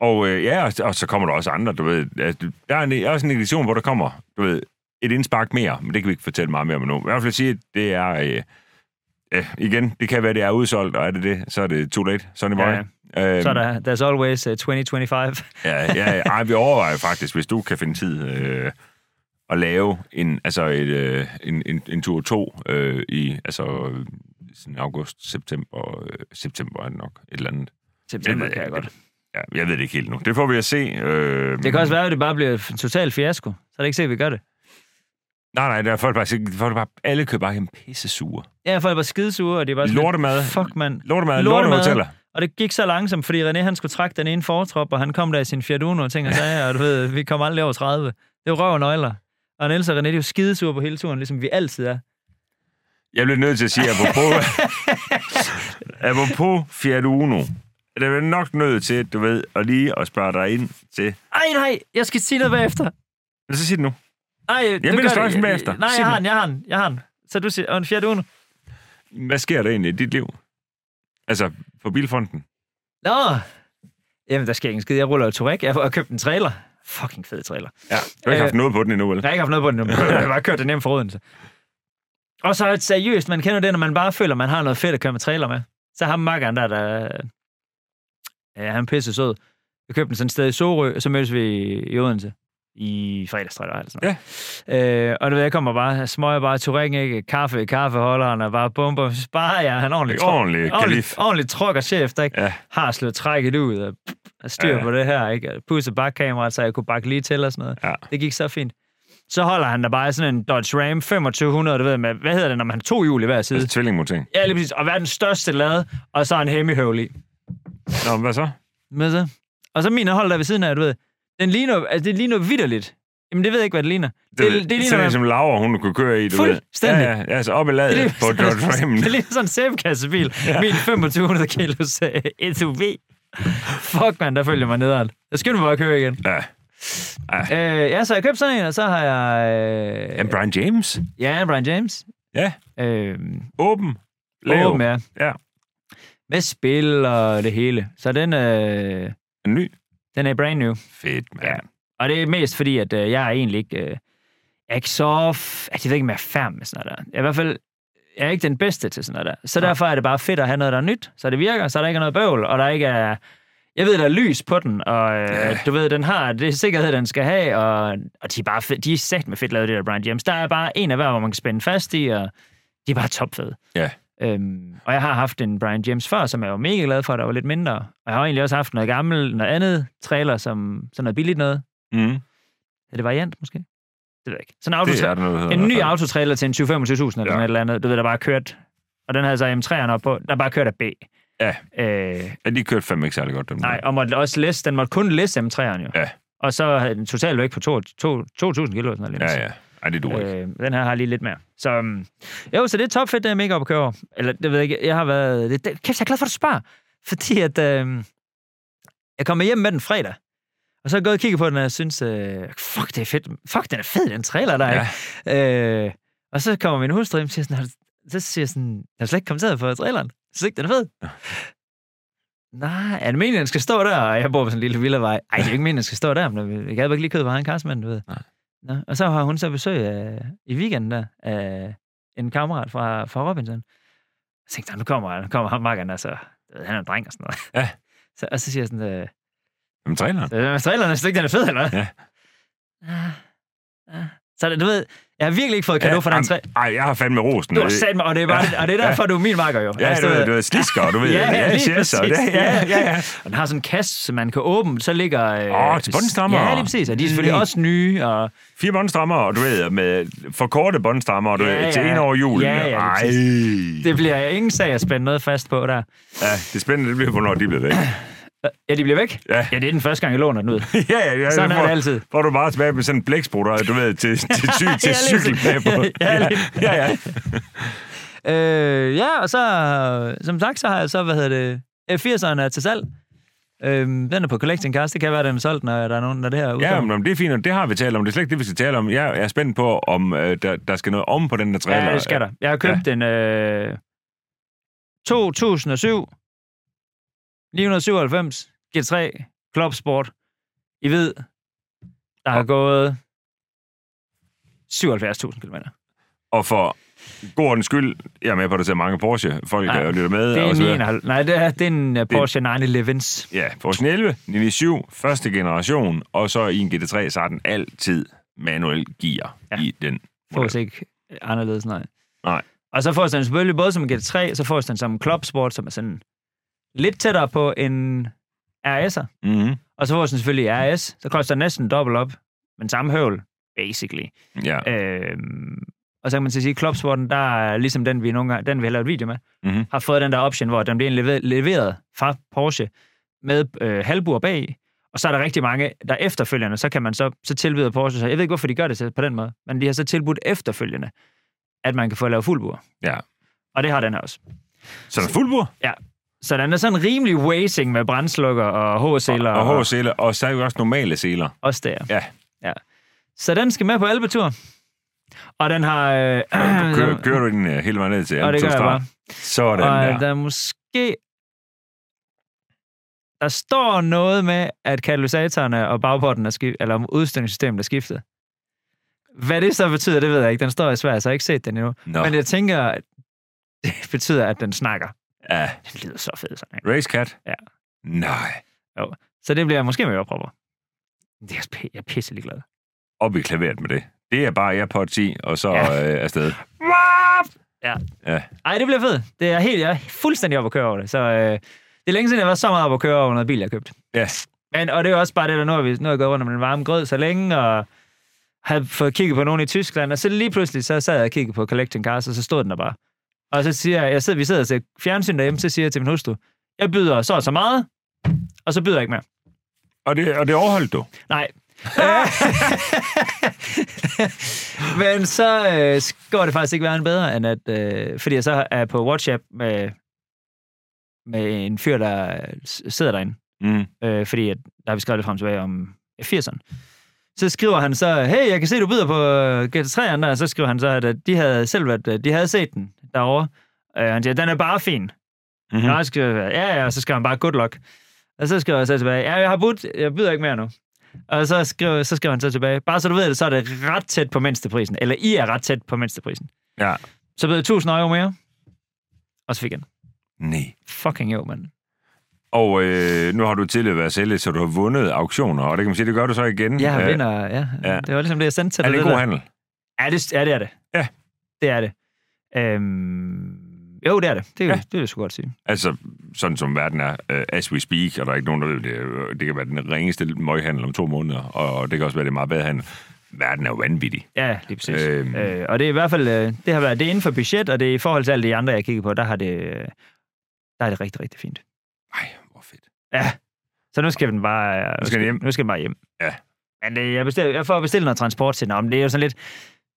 S1: og øh, ja, og, og så kommer der også andre, du ved. Altså, Der er en, også en edition, hvor der kommer, du ved, et indspark mere, men det kan vi ikke fortælle meget mere om nu. Men I hvert fald sige, at det er... Øh, øh, igen, det kan være, det er udsolgt, og er det det, så er det too late. Sonny Boy.
S2: Ja,
S1: Øhm,
S2: Så er der, there's always uh, 2025.
S1: Ja, ja, ej, vi overvejer faktisk, hvis du kan finde tid øh, at lave en, altså et, øh, en, en, en tur 2 øh, i altså, øh, sådan august, september, øh, september er det nok, et eller andet.
S2: September
S1: ved
S2: kan jeg
S1: jeg
S2: godt.
S1: Ja, jeg ved det ikke helt nu. Det får vi at se. Øh,
S2: øh, Det kan også være, at det bare bliver en total fiasko. Så er det ikke sikkert, at vi gør det.
S1: Nej, nej, der er folk faktisk ikke. Folk er bare, alle køber bare en pisse sure.
S2: Ja, folk var skidesure, og det var sådan
S1: Lortemad.
S2: lidt, Fuck, mand.
S1: Lortemad,
S2: Lortemad.
S1: lortehoteller.
S2: Og det gik så langsomt, fordi René han skulle trække den ene fortrop, og han kom der i sin Fiat Uno og ting og sager, og du ved, vi kom aldrig over 30. Det var røv og nøgler. Og Niels og René, de er jo skidesure på hele turen, ligesom vi altid er.
S1: Jeg bliver nødt til at sige, apropos, apropos Fiat Uno. Det er vi nok nødt til, du ved, at lige at spørge dig ind til.
S2: Ej, nej, jeg skal sige noget bagefter.
S1: Men så sig det nu.
S2: Nej, jeg
S1: mener sløjfen bagefter.
S2: Nej,
S1: Sig
S2: jeg
S1: nu.
S2: har den, jeg har den, jeg har den. Så du siger, og en Fiat Uno.
S1: Hvad sker der egentlig i dit liv? Altså, på bilfonden?
S2: Nå, Jamen, der sker ingen skid. Jeg ruller jo Touareg. Jeg har købt en trailer. Fucking fed trailer.
S1: Ja, du har ikke
S2: Øh,
S1: haft noget på den endnu, vel?
S2: Jeg har ikke haft noget på den nu, men jeg har bare kørt den hjem fra Odense. Og så et seriøst, man kender det, når man bare føler, man har noget fedt at køre med trailer med. Så har makkeren der, der... Ja, han er pisse sød. Jeg købte den sådan et sted i Sorø, og så mødtes vi i Odense i fredags, tror jeg, det var, eller sådan noget. Ja. Øh, og du ved, jeg kommer bare, smøger bare Turing, ikke? Kaffe i kaffeholderen, og bare bum, bum, så sparer jeg. Han er ordentligt
S1: Det er ordentlig
S2: ordentligt,
S1: kalif.
S2: ordentligt trukker chef, der ikke
S1: Ja.
S2: ja. har slået trækket ud og, og styr
S1: Ja.
S2: ja. på det her, ikke? Og Pusset bakkameraet, så jeg kunne bakke lige til og sådan noget.
S1: Ja.
S2: Det gik så fint. Så holder han der bare sådan en Dodge Ram 2500, du ved, med, hvad hedder det, når man har to hjul i hver side?
S1: Altså, tvillingmoting.
S2: Ja, lige præcis. Og verdens største lade, og så en hemmihøvl i.
S1: Nå, hvad så?
S2: Med så. Og så min hold der ved siden af, du ved. Den ligner, altså det ligner vidderligt. Jamen det ved jeg ikke, hvad det ligner. Det, det, det, ligner,
S1: sådan en,
S2: det,
S1: som Laura, hun kunne køre i, du
S2: Fuldstændig.
S1: ved. Ja, ja, ja, altså op i ladet
S2: ligner,
S1: på Dodge Ram.
S2: det ligner sådan en sæbekassebil. Ja. Min 2500 kilos øh, SUV. Fuck, man, der følger mig nedad. Jeg skynder mig bare at køre igen.
S1: Ja.
S2: Øh, ja, så jeg købte sådan en, og så har jeg... Øh,
S1: And Brian James?
S2: ja, Brian James.
S1: Ja.
S2: Øh,
S1: Åben. Lav.
S2: åben, ja.
S1: Ja.
S2: Med spil og det hele. Så den, øh,
S1: En ny.
S2: den er brand new.
S1: Fedt, mand.
S2: Ja. Og det er mest fordi, at øh, jeg er egentlig ikke, øh, jeg er ikke så... F- altså, jeg ved ikke, om jeg er færm med sådan noget der. Jeg er i hvert fald jeg er ikke den bedste til sådan noget der. Så
S1: Nej.
S2: derfor er det bare fedt at have noget, der er nyt, så det virker, så der ikke er noget bøvl, og der ikke er... Jeg ved, der er lys på den, og øh,
S1: Ja.
S2: du ved, den har det sikkerhed, den skal have, og, og de er bare fed, de er sagt med fedt lavet, det der Brian James. Der er bare en af hver, hvor man kan spænde fast i, og de er bare topfede.
S1: Ja.
S2: Øhm, og jeg har haft en Brian James før, som jeg var mega glad for, der var lidt mindre. Og jeg har egentlig også haft noget gammelt, noget andet trailer, som sådan noget billigt noget.
S1: Mm.
S2: Er det variant, måske? Det ved jeg ikke. Sådan en,
S1: Det
S2: autotra-
S1: er der noget, der hedder.
S2: en ny
S1: i hvert fald.
S2: autotrailer til en 20-25.000 eller
S1: Ja.
S2: sådan et eller andet. Du ved, der bare kørt... Og den havde så M3'eren op på. Der bare kørt af B.
S1: Ja.
S2: Øh,
S1: Ja, de kørte fandme ikke særlig godt, dem
S2: nej,
S1: der.
S2: og måtte også læse, den måtte kun læse M3'eren jo.
S1: Ja.
S2: Og så havde den totalt vægt på to- to- 2.000 kilo. eller Sådan noget,
S1: Ja, ja. Ej, det duer ikke.
S2: Øh, den her har lige lidt mere. Så, øhm, jo, så det er topfedt, det er mega op at køre over. Eller, det ved jeg ikke, jeg har været... Det, det, kæft, jeg er glad for, at du spørger. Fordi at... Øh, jeg kommer hjem med den fredag. Og så er jeg gået og kigget på den, og jeg synes, øh, fuck, det er fedt. Fuck, den er fed, den trailer der,
S1: Ja.
S2: ja. ikke? Øh, og så kommer min hustru hjem og siger sådan, "Har du- så siger jeg sådan, jeg har slet ikke kommenteret på traileren. Jeg synes ikke, den er fed. Nej, er det meningen, den skal stå der? Og jeg bor på sådan en lille villavej. Ej, det er jo ikke meningen, den skal stå der, men jeg gad bare ikke lige købe bare en karsmand, du ved.
S1: Nej.
S2: Nå, og så har hun så besøg af, i weekenden der, af en kammerat fra, fra Robinson. Så tænkte jeg, nu kommer, nu kommer ham, makkeren, altså, du ved, han er en dreng og sådan noget.
S1: Ja.
S2: Så, og så siger jeg sådan, øh,
S1: Jamen, traileren.
S2: så øh, traileren, synes ikke, den er fed, eller hvad?
S1: Ja.
S2: Ah, ah. Så det- du ved, jeg har virkelig ikke fået kado for den
S1: jamen,
S2: tre.
S1: Ej, jeg har fandme rosen.
S2: Du har sat mig, og det er, bare, og det er derfor, du er min makker jo.
S1: Ja, du
S2: du
S1: ved,
S2: ved-
S1: du ved, slisker, du ved.
S2: Ja, ja, lige
S1: yes, og
S2: præcis.
S1: det- Ja, ja, ja.
S2: og den har sådan en kasse, som man kan åbne, så ligger... øh,
S1: Åh, til båndstammer.
S2: Ja, lige præcis, og de er selvfølgelig
S1: Lige.
S2: også nye, og...
S1: Fire båndstrammer, og du ved, med for korte båndstrammer, og du
S2: Ja,
S1: ved, til
S2: ja.
S1: en over julen.
S2: Ja, ja, lige
S1: Ej.
S2: Det bliver ingen sag at spænde noget fast på der.
S1: Ja, det spændende, det bliver, hvornår de bliver væk.
S2: Ja, de bliver væk?
S1: Ja.
S2: ja det er den første gang, jeg låner den ud.
S1: ja, ja, ja.
S2: Sådan er
S1: får-
S2: det altid.
S1: Får du bare tilbage med sådan en blæksprutter, du ved, til, til, ty,
S2: Ja,
S1: til
S2: lige
S1: cykel med på.
S2: præcis. Ja, lige-
S1: ja, ja.
S2: Øh, ja, og så, som sagt, så har jeg så, hvad hedder det, F80'eren er til salg. Øhm, den er på Collecting Cast. Det kan være, den er solgt, når der er nogen, der det her
S1: Ja,
S2: udkommer.
S1: men om det er fint, og det har vi talt om. Det er slet ikke det, vi skal tale om. Jeg er spændt på, om øh, der, der skal noget om på den der trailer.
S2: ja, det skal der. Jeg har købt ja. en øh, 2007 997 G3 Club Sport i hvid, der har
S1: Og-
S2: gået 77.000 km.
S1: Og for god ordens skyld, jeg er med på, at der ser mange Porsche. Folk
S2: Ja.
S1: ja. lytter med.
S2: Det er
S1: og så
S2: en
S1: videre.
S2: 91. Nej, det er, det er en øh, Porsche 911's.
S1: Ja, Porsche 11, 97, første generation, og så i en GT3, så har den altid manuel gear ja.
S2: Ja.
S1: i den.
S2: Fås ikke øh, anderledes, nej.
S1: Nej.
S2: Og så fås den selvfølgelig både som en GT3, så fås den som en Club Sport, som er sådan lidt tættere på en RS'er.
S1: Mm-hmm.
S2: Og så fås den selvfølgelig i RS, så koster den næsten dobbelt op, men samme høvl, basically.
S1: Ja.
S2: Øhm, og så kan man så sige, at Klopsporten, der er ligesom den, vi nogle gange, den vi har lavet video med,
S1: Mhm.
S2: har fået den der option, hvor den bliver leveret, leveret fra Porsche med øh, halvbur bag. Og så er der rigtig mange, der efterfølgende, så kan man så, så tilbyder Porsche sig. Jeg ved ikke, hvorfor de gør det så- på den måde, men de har så tilbudt efterfølgende, at man kan få lavet fuldbur.
S1: Ja.
S2: Og det har den her også.
S1: Så der er fuldbur,
S2: Så den er sådan rimelig racing med brændslukker og HC'ler.
S1: og H-seler, og så er jo også normale seler.
S2: Også der.
S1: Ja.
S2: ja. Så den skal med på albetur. Og den har... Øh,
S1: Du kører, kører du den øh, hele vejen ned til
S2: og øh, det gør jeg
S1: Albertstrand?
S2: bare.
S1: Sådan
S2: Og
S1: der.
S2: der er måske... Der står noget med, at katalysatorerne og bagporten er skiftet, eller om udstødningssystemet er skiftet. Hvad det så betyder, det ved jeg ikke. Den står i Sverige, så jeg har ikke set den endnu.
S1: Nå,
S2: Men jeg tænker, at det betyder, at den snakker.
S1: ja.
S2: Den lyder så fed, sådan en.
S1: Race Cat?
S2: Ja.
S1: Nej.
S2: Så det bliver måske med ørepropper. Det er, jeg sp- jeg er pisselig glad.
S1: Op i klaveret med det. Det er bare AirPods i, og så
S2: Ja.
S1: ja. øh, afsted.
S2: Ja.
S1: Ja.
S2: Ej, det bliver fedt. Det er helt, jeg er fuldstændig op at køre over det. Så øh, det er længe siden, jeg har været så meget op at køre over noget bil, jeg købte.
S1: Ja.
S2: Men, og det er jo også bare det, der nu har vi nu har jeg gået rundt om den varme grød så længe, og havde fået kigget på nogen i Tyskland, og så lige pludselig, så sad jeg og kiggede på Collecting Cars, og så stod den der bare. Og så siger jeg, jeg sidder, vi sidder og ser fjernsyn derhjemme, så siger jeg til min hustru, jeg byder så og så meget, og så byder jeg ikke mere.
S1: Og det, og det overholdt du?
S2: Nej. Øh. Men så øh, går det faktisk ikke være bedre, end at, øh, fordi jeg så er på WhatsApp med, med en fyr, der s- sidder derinde,
S1: Mm.
S2: øh, fordi at, der har vi skrevet lidt frem tilbage om 80'erne. Så skriver han så, hey, jeg kan se, du byder på øh, GT3'eren der, og så skriver han så, at øh, de havde selv været, øh, de havde set den derovre. Øh, han siger, den er bare fin.
S1: Mm-hmm.
S2: Mm. Nå, jeg skal, ja, ja, og så skriver han bare, good luck. Og så skriver jeg så tilbage, ja, jeg har budt, jeg byder ikke mere nu. Og så skriver, så skriver han så tilbage, bare så du ved det, så er det ret tæt på mindsteprisen. Eller I er ret tæt på mindsteprisen.
S1: Ja.
S2: Så bød jeg 1000 euro mere. Og så fik han.
S1: Nej.
S2: Fucking jo, mand.
S1: Og øh, nu har du tidligere været sælger, så du har vundet auktioner, og det kan man sige, det gør du så igen.
S2: Jeg
S1: Øh,
S2: vinder, ja.
S1: Ja.
S2: ja. Det var ligesom det, jeg sendte til
S1: Er Altså, det en
S2: der.
S1: god handel?
S2: Ja, det, ja, det er det.
S1: Ja.
S2: Det er det. Øhm, jo, det er det. Det,
S1: Ja.
S2: ja. det vil jeg sgu godt sige.
S1: Altså, sådan som verden er, øh, as we speak, og der er ikke nogen, der ved det, det kan være den ringeste møghandel om to måneder, og, og det kan også være det er meget bedre handel. Verden er jo vanvittig.
S2: Ja, lige præcis.
S1: Øhm.
S2: Øh, og det er i hvert fald, øh, det har været, det er inden for budget, og det er i forhold til alle de andre, jeg kigger på, der har det, øh, der er det rigtig, rigtig fint.
S1: Nej, hvor fedt.
S2: Ja. Så nu skal den bare... øh,
S1: Nu skal den hjem.
S2: Nu skal den bare hjem.
S1: Ja.
S2: Men det, jeg, bestil, jeg får bestilt noget transport til den, men det er jo sådan lidt...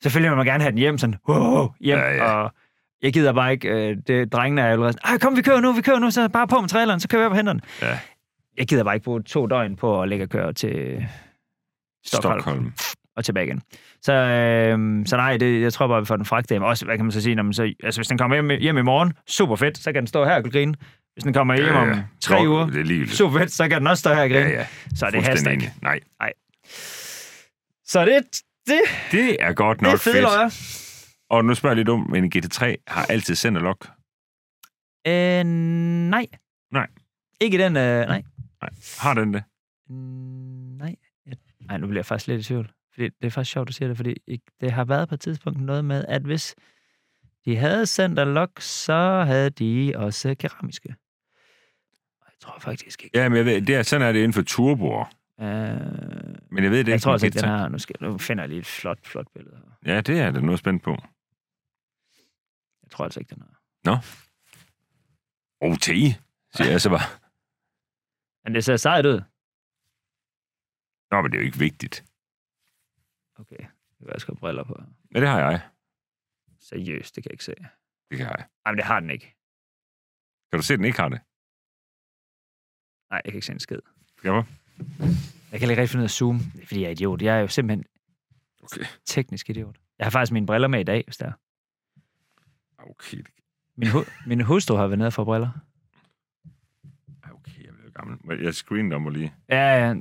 S2: Selvfølgelig vil man gerne have den hjem, sådan... Wow, hjem,
S1: Ja, ja.
S2: ja, ja. og jeg gider bare ikke... Øh, det, drengene er jo allerede sådan, "Ej, kom, vi kører nu, vi kører nu, så bare på med traileren, så kører vi op og henter den.
S1: Ja.
S2: Jeg gider bare ikke bruge to døgn på at ligge og køre til Stockholm, Stockholm.
S1: Stockholm.
S2: og tilbage igen. Så, øh, så nej, det, jeg tror bare, vi får den fragtet hjem. Også, hvad kan man så sige, når man så, altså, hvis den kommer hjem, hjem i morgen, super fedt, så kan den stå her og grine. Hvis den kommer hjem om
S1: Ja, ja.
S2: tre
S1: Nå,
S2: uger,
S1: Det er lige så,
S2: super fedt, så kan den også stå her og grine.
S1: ja,
S2: Ja, ja.
S1: ja.
S2: Så er det
S1: Fuldstændig
S2: hashtag.
S1: enig. Nej,
S2: Så det, det,
S1: det er godt
S2: det
S1: nok
S2: er fede
S1: fedt.
S2: løjer.
S1: Og nu spørger jeg lidt om, men GT3 har altid sender lok.
S2: Øh, nej.
S1: Nej.
S2: Ikke i den, øh, nej.
S1: Har den det?
S2: Mm, Nej. Jeg- Nej, nu bliver jeg faktisk lidt i tvivl. Fordi det er faktisk sjovt, du siger det, fordi ikke- det har været på et tidspunkt noget med, at hvis de havde sendt lok, så havde de også keramiske. Og Jeg tror faktisk ikke.
S1: Ja, men jeg ved, det er, sådan er det inden for turboer.
S2: Øh,
S1: Men jeg ved det
S2: jeg
S1: ikke.
S2: tror
S1: med
S2: altså ikke,
S1: GT3.
S2: den her. Nu, skal, nu finder jeg lige et flot, flot billede her.
S1: Ja, det er det noget spændt på.
S2: Jeg tror altså ikke, den her.
S1: OT, siger jeg så bare.
S2: Men det ser sejt ud.
S1: Nå, men det er jo ikke vigtigt.
S2: Okay, det kan jeg skal have briller på.
S1: Men det har jeg.
S2: Seriøst, det kan jeg ikke se.
S1: Det kan jeg.
S2: Nej, men det har den ikke.
S1: Kan du se, at den ikke har det?
S2: Nej, jeg kan ikke se en skid.
S1: Skal jeg
S2: Jeg kan ikke rigtig finde ud af Zoom, fordi jeg er idiot. Jeg er jo simpelthen
S1: Okay.
S2: teknisk idiot. Jeg har faktisk mine briller med i dag, hvis der.
S1: Ah, Okay, det-
S2: Min, hu- min hustru har været nede for briller.
S1: okay, jeg bliver gammel. Men jeg screener dem og lige,
S2: Ja, ja.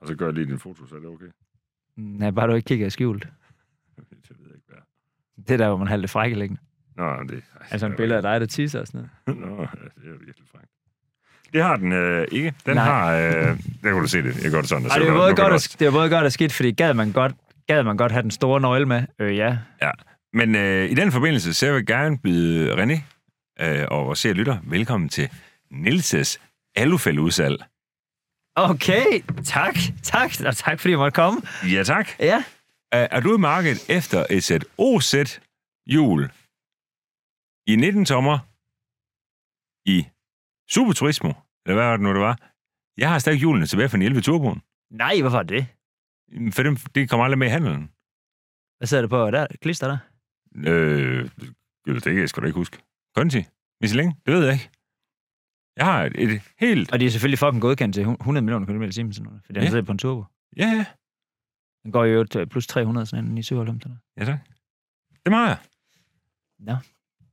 S1: og så gør jeg lige din foto, så er det okay.
S2: Nej, bare du ikke kigger i skjult.
S1: Det ved jeg ikke, hvad. er.
S2: Det er der, hvor man har det frækkeliggende.
S1: Nå, men det... ej,
S2: Altså
S1: det
S2: en
S1: er
S2: billede af dig, der tisser og sådan
S1: jo
S2: noget.
S1: ikke- Nå, ja, det er virkelig frækt. Det har den øh, ikke. Den
S2: Nej.
S1: har... Øh, der kunne du se det. Jeg gør det sådan.
S2: Ej, det
S1: så
S2: er jo
S1: nu-
S2: både
S1: nu kan
S2: godt,
S1: du
S2: og, det er både godt og skidt, fordi gad man godt, gad man godt have den store nøgle med. Øh, ja.
S1: Men øh, i den forbindelse, så vil jeg gerne byde René øh, og vores seer lytter velkommen til Nilses alufældeudsalg.
S2: Okay, tak, tak, og tak fordi jeg måtte komme.
S1: Ja, tak.
S2: Ja.
S1: Er, er du i markedet efter et sæt OZ jul i 19 tommer i Superturismo? Eller hvad var det nu, det var? Jeg har stadig julene tilbage fra den 11 turboen.
S2: Nej, hvorfor er det?
S1: For dem, det kommer aldrig med i handelen.
S2: Hvad sidder det på der? Klister der?
S1: Øh, det kan jeg sgu da ikke huske. Conti? Michelin? Det ved jeg ikke. Jeg har et, et helt...
S2: Og de er selvfølgelig fucking godkendt til 100 millioner km i timen, sådan noget, fordi den
S1: Ja.
S2: sidder på en turbo.
S1: Ja, ja.
S2: Den går jo til plus 300 sådan en i 97.
S1: Ja, tak. Det er mig.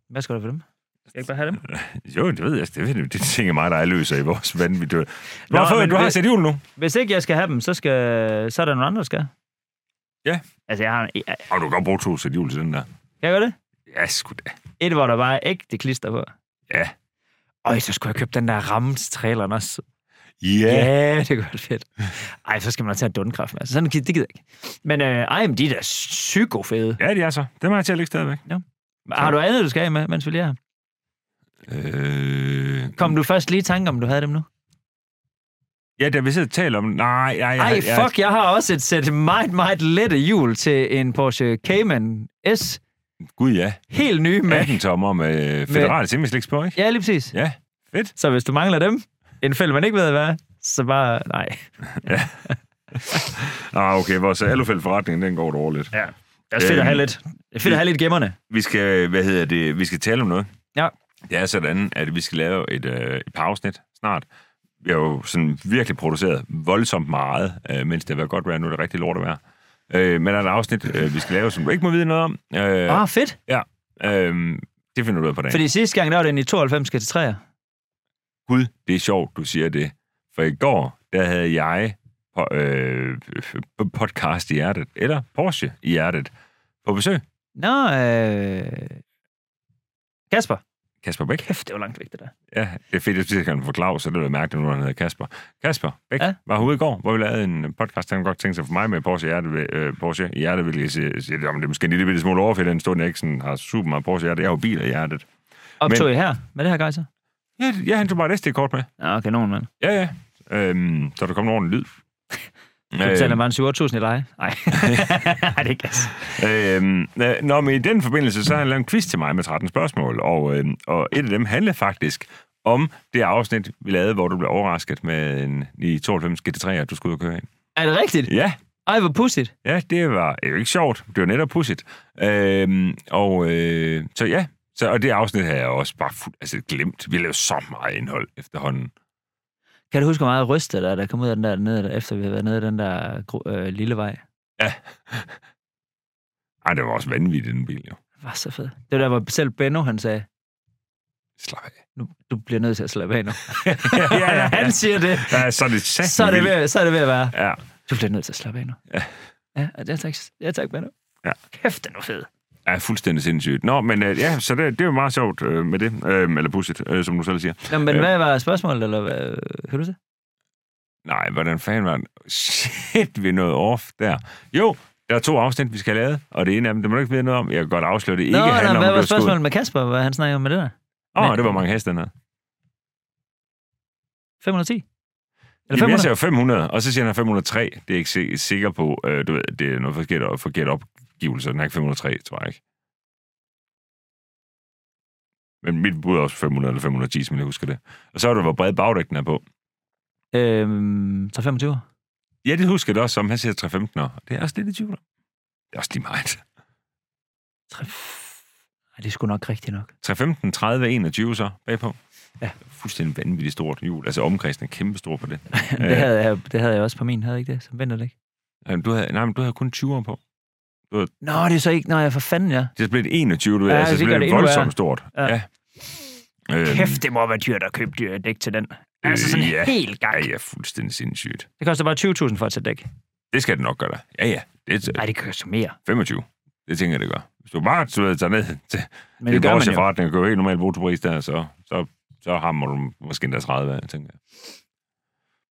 S2: Hvad skal der for dem? Skal jeg ikke bare have dem?
S1: Jo, det ved jeg. Det, ved, jeg. det tænker mig, der er løser i vores vanvittige... Du,
S2: Nå,
S1: har fået,
S2: men
S1: du har
S2: det-
S1: sat jul nu.
S2: Hvis ikke jeg skal have dem, så, skal, så er der nogen andre, der skal.
S1: Ja.
S2: Altså, jeg har... Jeg,
S1: Og du kan godt bruge to sæt jul til den der.
S2: kan jeg gøre det?
S1: Ja, sgu da.
S2: Et, hvor der bare er ægte klister på.
S1: Ja.
S2: Øj, så skulle jeg købe den der ramme til traileren også.
S1: Ja.
S2: Ja,
S1: Yeah.
S2: yeah. det kunne være fedt. Ej, så skal man tage en dundkraft med. Altså, sådan, gid- det gider jeg ikke. Men øh, ej, men de er da psykofede.
S1: Ja, det er så. Det må jeg til at ligge stadigvæk.
S2: Har du andet, du skal af med, mens vi lige er her?
S1: Øh...
S2: Kom du først lige i tanke om, du havde dem nu?
S1: Ja, da vi sidder og taler om... Nej, nej,
S2: Ej,
S1: jeg,
S2: fuck, jeg har også et sæt meget, meget lette hjul til en Porsche Cayman S.
S1: Gud, ja.
S2: Helt nye med.
S1: 18 tommer med federale simmelsliks på, ikke?
S2: Ja, lige præcis.
S1: Ja.
S2: Så hvis du mangler dem, en fælde, man ikke ved hvad, er, så bare, nej.
S1: Ah, okay, vores alufældforretning, den går dårligt.
S2: Ja. Det er også fedt at have
S1: Øhm,
S2: lidt. Det er fedt at have lidt gemmerne.
S1: Vi skal, hvad hedder det, vi skal tale om noget.
S2: Ja.
S1: Det er sådan, at vi skal lave et, øh, et par afsnit snart. Vi har jo sådan virkelig produceret voldsomt meget, øh, mens det har været godt vejr, nu er det rigtig lort at være. Øh, men der er et afsnit, øh, vi skal lave, som du ikke må vide noget om. Øh,
S2: Ja. Ah, fedt.
S1: øh, det finder du ud af på dagen.
S2: Fordi sidste gang, der var den i 92 til 3.
S1: Gud, det er sjovt, du siger det. For i går, der havde jeg på, øh, p- podcast i hjertet, eller Porsche i hjertet, på besøg.
S2: Nå, øh... Kasper.
S1: Kasper Bæk.
S2: Kæft, det var langt væk, det der.
S1: Ja, det er fedt, at jeg kan forklare, så det var mærkeligt, nu han hedder Kasper. Kasper Bæk
S2: Ja.
S1: ja. var ude i går, hvor vi lavede en podcast, han godt tænkte sig for mig med Porsche i hjertet, øh, Porsche i hjertet, hvilket jeg siger, siger, jamen, det er måske en lille bitte smule overfælde, den stod jeg ikke sådan, har super meget Porsche i hjertet, jeg har jo biler i hjertet.
S2: Optog Men... I her med det her gejser?
S1: Ja, ja han tog bare et SD-kort med.
S2: Nå, kanon, mand.
S1: Ja, ja. Øhm, så der kom en ordentlig lyd.
S2: Du betaler bare en 7.000 i leje. Nej, det er ikke gas.
S1: Øhm, øh, nå, men i den forbindelse, så har han lavet en quiz til mig med 13 spørgsmål, og, øhm, og et af dem handler faktisk om det afsnit, vi lavede, hvor du blev overrasket med en i 92 GT3, du skulle ud og køre ind.
S2: Er det rigtigt?
S1: Ja,
S2: Ej, hvor pudsigt.
S1: ja, det var det er jo ikke sjovt. Det var netop pudsigt. Øhm, og øh, så ja, så, og det afsnit har jeg også bare fuld, altså, glemt. Vi lavede så meget indhold efterhånden.
S2: Kan du huske, hvor meget rystet der, er, der kom ud af den der, nede, efter vi havde været nede af den der gro- øh, lille vej?
S1: Ej, det var også vanvittigt, den bil jo.
S2: Det var så fedt. Det var der, hvor selv Benno, han sagde,
S1: Slap af.
S2: nu, du bliver nødt til at slappe af nu.
S1: ja, ja, ja.
S2: han siger det.
S1: Ja, så er det sat.
S2: Så er det, ved, så er det ved at være.
S1: Ja.
S2: Du bliver nødt til at slappe af nu.
S1: Ja.
S2: Ja, ja tak, ja, tak Benno.
S1: Ja.
S2: Kæft, den var fed.
S1: er fuldstændig sindssygt. Nå, men øh, ja, så det, det er jo meget sjovt øh, med det, øh, eller pudsigt, øh, som du selv siger.
S2: Nå, men
S1: Øh.
S2: hvad var spørgsmålet, eller hvad? Hørte du det?
S1: Nej, hvordan fanden var det? Shit, vi nåede off der. Jo, der er to afsnit, vi skal have lavet, og det ene af dem, det må du ikke vide noget om. Jeg kan godt afsløre, det ikke
S2: Nå,
S1: handler
S2: nej,
S1: om,
S2: hvad
S1: at
S2: var
S1: blive skudt.
S2: spørgsmålet med Kasper? Hvad han snakkede om med det der?
S1: Åh,
S2: Men-
S1: det var mange heste, den her.
S2: 510? Eller
S1: Jamen, jeg
S2: 500?
S1: siger jo 500, og så siger han 503. Det er jeg ikke si- sikker på. Øh, du ved, det er noget forkert, forkert opgivelse. Den er ikke 503, tror jeg ikke. Men mit bud er også 500 eller 510, som jeg husker det. Og så er det, hvor bred bagdækken er på.
S2: Øhm, så 25.
S1: Ja, det husker jeg det også som. Han siger 315 år. Det er også lidt i tvivl om. Det er også lige meget.
S2: 3... Ej, det er sgu nok rigtigt nok.
S1: 315, 30, 21 så bagpå.
S2: Ja.
S1: Fuldstændig vanvittigt stort hjul. Altså omkredsen er kæmpe stor på det.
S2: det, havde jeg, det havde jeg også på min, havde jeg ikke det? Som venter det ikke.
S1: Jamen, Øh, Du havde, nej, men du havde kun 20 år på.
S2: Nå, det er så ikke... Nå, jeg for fanden, ja.
S1: Det er blevet 21, du ved.
S2: Ja,
S1: Ja, altså,
S2: det
S1: det
S2: gør
S1: blev
S2: det
S1: det
S2: endnu værre.
S1: voldsomt stort.
S2: Ja.
S1: Øhm,
S2: Kæft, det må være dyrt at købe dyr dæk til den. Altså sådan
S1: Øh, ja.
S2: helt gang.
S1: Ja, ja, fuldstændig sindssygt.
S2: Det koster bare 20.000 for et sæt dæk.
S1: Det skal det nok gøre dig. Ja, ja. Det er
S2: Nej, det koster mere.
S1: 25. Det tænker jeg, det gør. Hvis du bare du ved, tager ned til
S2: Men
S1: det
S2: det,
S1: er
S2: gør man
S1: vores
S2: jo.
S1: forretning, og køber helt normal brutopris der, så, så, så hammer du måske endda 30, af, tænker jeg.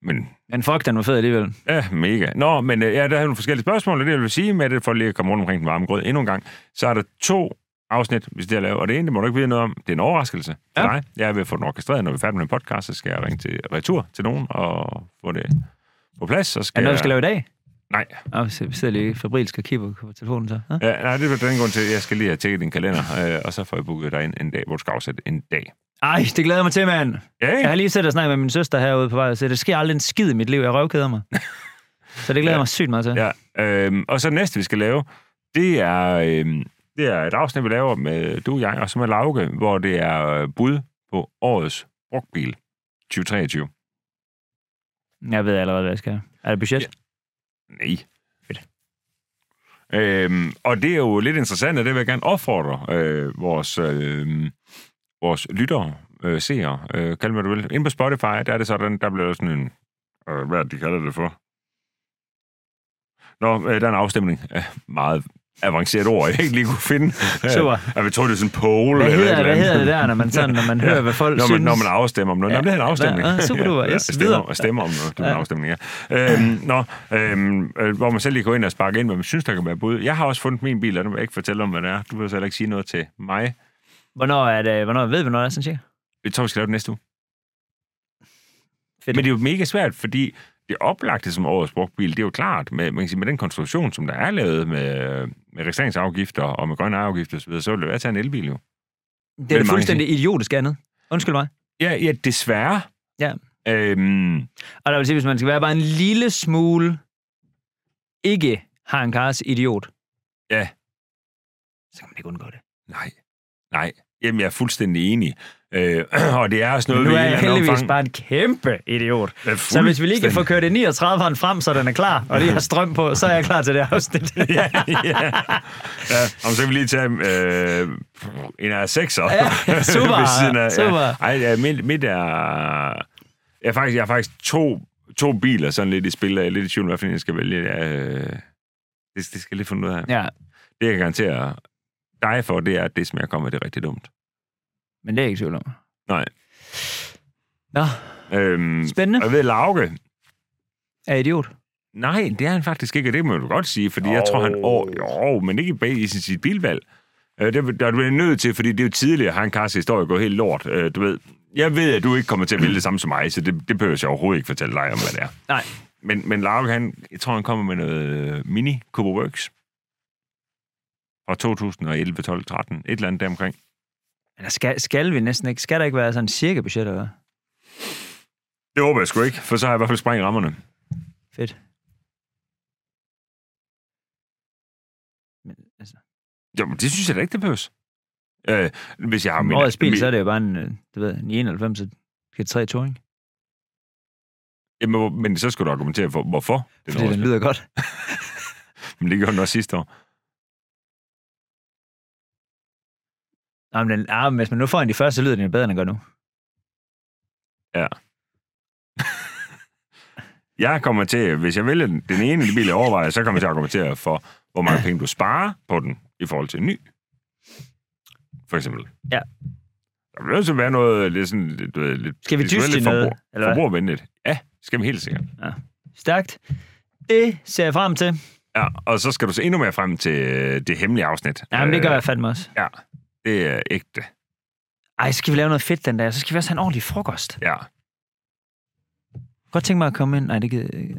S1: Men
S2: Men fuck, den var fed alligevel.
S1: Ja, mega. Nå, men øh, ja, der havde nogle forskellige spørgsmål, og det jeg vil sige med det, for lige at komme rundt omkring den varme grød endnu en gang, så er der to afsnit, hvis det er lavet, og det ene, det må du ikke vide noget om, det er en overraskelse for
S2: Ja.
S1: ja. dig. Jeg vil få den orkestreret, når vi er færdige med en podcast, så skal jeg ringe til retur til nogen og få det på plads. Så
S2: Er
S1: skal
S2: det noget,
S1: jeg...
S2: vi skal lave i dag?
S1: Nej.
S2: Nå, vi sidder- vi sidder lige fabrilsk og kigger på telefonen så. Ja?
S1: Ja, nej, det er den grund til, at jeg skal lige have tjekket din kalender, øh, og så får jeg booket dig ind en dag, hvor du skal afsætte en dag.
S2: Ej, det glæder jeg mig til, mand.
S1: Ja,
S2: Jeg har
S1: ikke?
S2: lige siddet og snakket med min søster herude på vej, og sagde, det sker aldrig en skid i mit liv, jeg røvkeder mig. Så det glæder jeg
S1: Ja.
S2: mig sygt meget til.
S1: ja. Øhm, og så næste, vi skal lave, det er, øhm, det er et afsnit, vi laver med du, jeg og så med Lauke, hvor det er øh, bud på årets brugtbil 2023.
S2: Jeg ved allerede, hvad jeg skal. Er det budget?
S1: Ja. Nej. Fedt. Øhm, og det er jo lidt interessant, og det vil jeg gerne opfordre øh, vores øh, vores lyttere, øh, seere, øh, kald mig du vil. Inde på Spotify, der er det sådan, der bliver sådan en... Øh, hvad er det, de kalder det for? Nå, øh, der er en afstemning. Øh, meget avanceret ord, jeg ikke lige kunne finde.
S2: Super.
S1: Øh, jeg tror, det er sådan en poll. eller
S2: Hvad
S1: et
S2: hedder,
S1: eller
S2: hvad
S1: andet.
S2: hedder det der, når man, sådan, når man hører, hvad folk
S1: når man,
S2: synes?
S1: når man afstemmer om noget. Ja.
S2: Ja.
S1: Nå, men det er en afstemning.
S2: Ja, super duper. Yes,
S1: stemmer,
S2: videre.
S1: stemmer om noget. Det er en
S2: Ja.
S1: afstemning, ja. Øhm, nå, øhm, øh, hvor man selv lige går ind og sparker ind, hvad man synes, der kan være bud. Jeg har også fundet min bil, og den vil jeg ikke fortælle om, hvad det er. Du vil så heller ikke sige noget til mig.
S2: Hvornår, er det, hvornår ved vi, hvornår det er sådan cirka?
S1: Jeg tror, vi skal lave det næste uge.
S2: Fedt.
S1: Men det er jo mega svært, fordi det oplagte som årets brugtbil, det er jo klart, med, man kan sige, med den konstruktion, som der er lavet med, med registreringsafgifter og med grønne afgifter osv., så vil det være at tage en elbil jo.
S2: Det er
S1: mange
S2: da fuldstændig idiotisk andet. Undskyld mig.
S1: Ja, ja desværre.
S2: Ja.
S1: Øhm,
S2: Og der vil sige, hvis man skal være bare en lille smule ikke har en kars idiot,
S1: Ja.
S2: så kan man ikke undgå det.
S1: nej, nej. Jamen, jeg er fuldstændig enig. Øh, og det er også noget,
S2: Men nu
S1: vi i
S2: er
S1: et
S2: jeg
S1: eller andet
S2: heldigvis
S1: omfang-
S2: bare en kæmpe idiot.
S1: Ja,
S2: Så hvis vi lige kan få
S1: fuldstændig.
S2: kørt det 39'eren frem, så den er klar, og lige har strøm på, så er jeg klar til det afsnit.
S1: ja, ja. ja. Om så kan vi lige tage øh, en af sekser.
S2: Ja, super,
S1: Ved siden af, Ja.
S2: super.
S1: Ej, ja, mit, mit er... Jeg har faktisk, jeg har faktisk to, to biler sådan lidt i spil, og jeg er lidt i tvivl, om, hvad for en jeg skal vælge. Ja, øh, det, det skal jeg lige finde ud af.
S2: ja,
S1: Det, jeg garanterer dig for, det er, at det smager kommer, det er rigtig dumt.
S2: men det er jeg ikke i tvivl om.
S1: Nej.
S2: Nå,
S1: Øhm,
S2: spændende.
S1: og jeg ved, Lauke,
S2: Er idiot.
S1: nej, det er han faktisk ikke, og det må du godt sige, fordi oh. jeg tror, han... Åh, jo, men ikke bag i sin- sit bilvalg. Øh, det, der er du nødt til, fordi det er jo tidligere, han Kars historie går helt lort. Øh, du ved, jeg ved, at du ikke kommer til at vælge det samme som mig, så det, det behøver jeg overhovedet ikke fortælle dig om, hvad det er.
S2: Nej.
S1: Men, men Lauke, han, jeg tror, han kommer med noget øh, mini Cooper Works fra 2011, 12, 13, et eller andet deromkring.
S2: Eller skal, skal vi næsten ikke? Skal der ikke være sådan cirka budget, eller hvad?
S1: Det håber jeg sgu ikke, for så har jeg i hvert fald sprængt rammerne.
S2: Fedt. Men, altså,
S1: Jamen, det synes jeg da ikke, det behøves. Øh, hvis jeg har...
S2: Jamen,
S1: min-
S2: årets bil,
S1: min-
S2: så er det jo bare en, øh, du ved, en 91 til 3 Touring.
S1: Jamen, hvor- men så skal du argumentere for, hvorfor. Det
S2: Fordi
S1: er
S2: den
S1: noget,
S2: lyder godt.
S1: men det gjorde den også sidste år.
S2: Nå, men den, ah, men hvis man nu får en de første, så lyder den jo bedre, end den gør nu.
S1: Jeg kommer til, hvis jeg vælger den, den ene bil, jeg overvejer, så kommer jeg til at argumentere for, hvor mange penge du sparer på den i forhold til en ny. For eksempel.
S2: Ja.
S1: Der bliver nødt til at være noget lidt sådan... Lidt, du ved, lidt
S2: Skal vi
S1: det skal være
S2: dyste
S1: lidt
S2: i noget,
S1: forbrug-
S2: eller hvad?
S1: Forbrugervenligt. Ja, skal vi helt sikkert.
S2: Stærkt. Det ser jeg frem til.
S1: Ja, og så skal du se endnu mere frem til øh, det hemmelige afsnit.
S2: Ja, men det gør jeg fandme også.
S1: Øh, Ja, det er ægte.
S2: Ej, så skal vi lave noget fedt den der. Så skal vi også have en ordentlig frokost.
S1: Ja,
S2: Godt tænke mig at komme ind. Nej, det gider jeg ikke.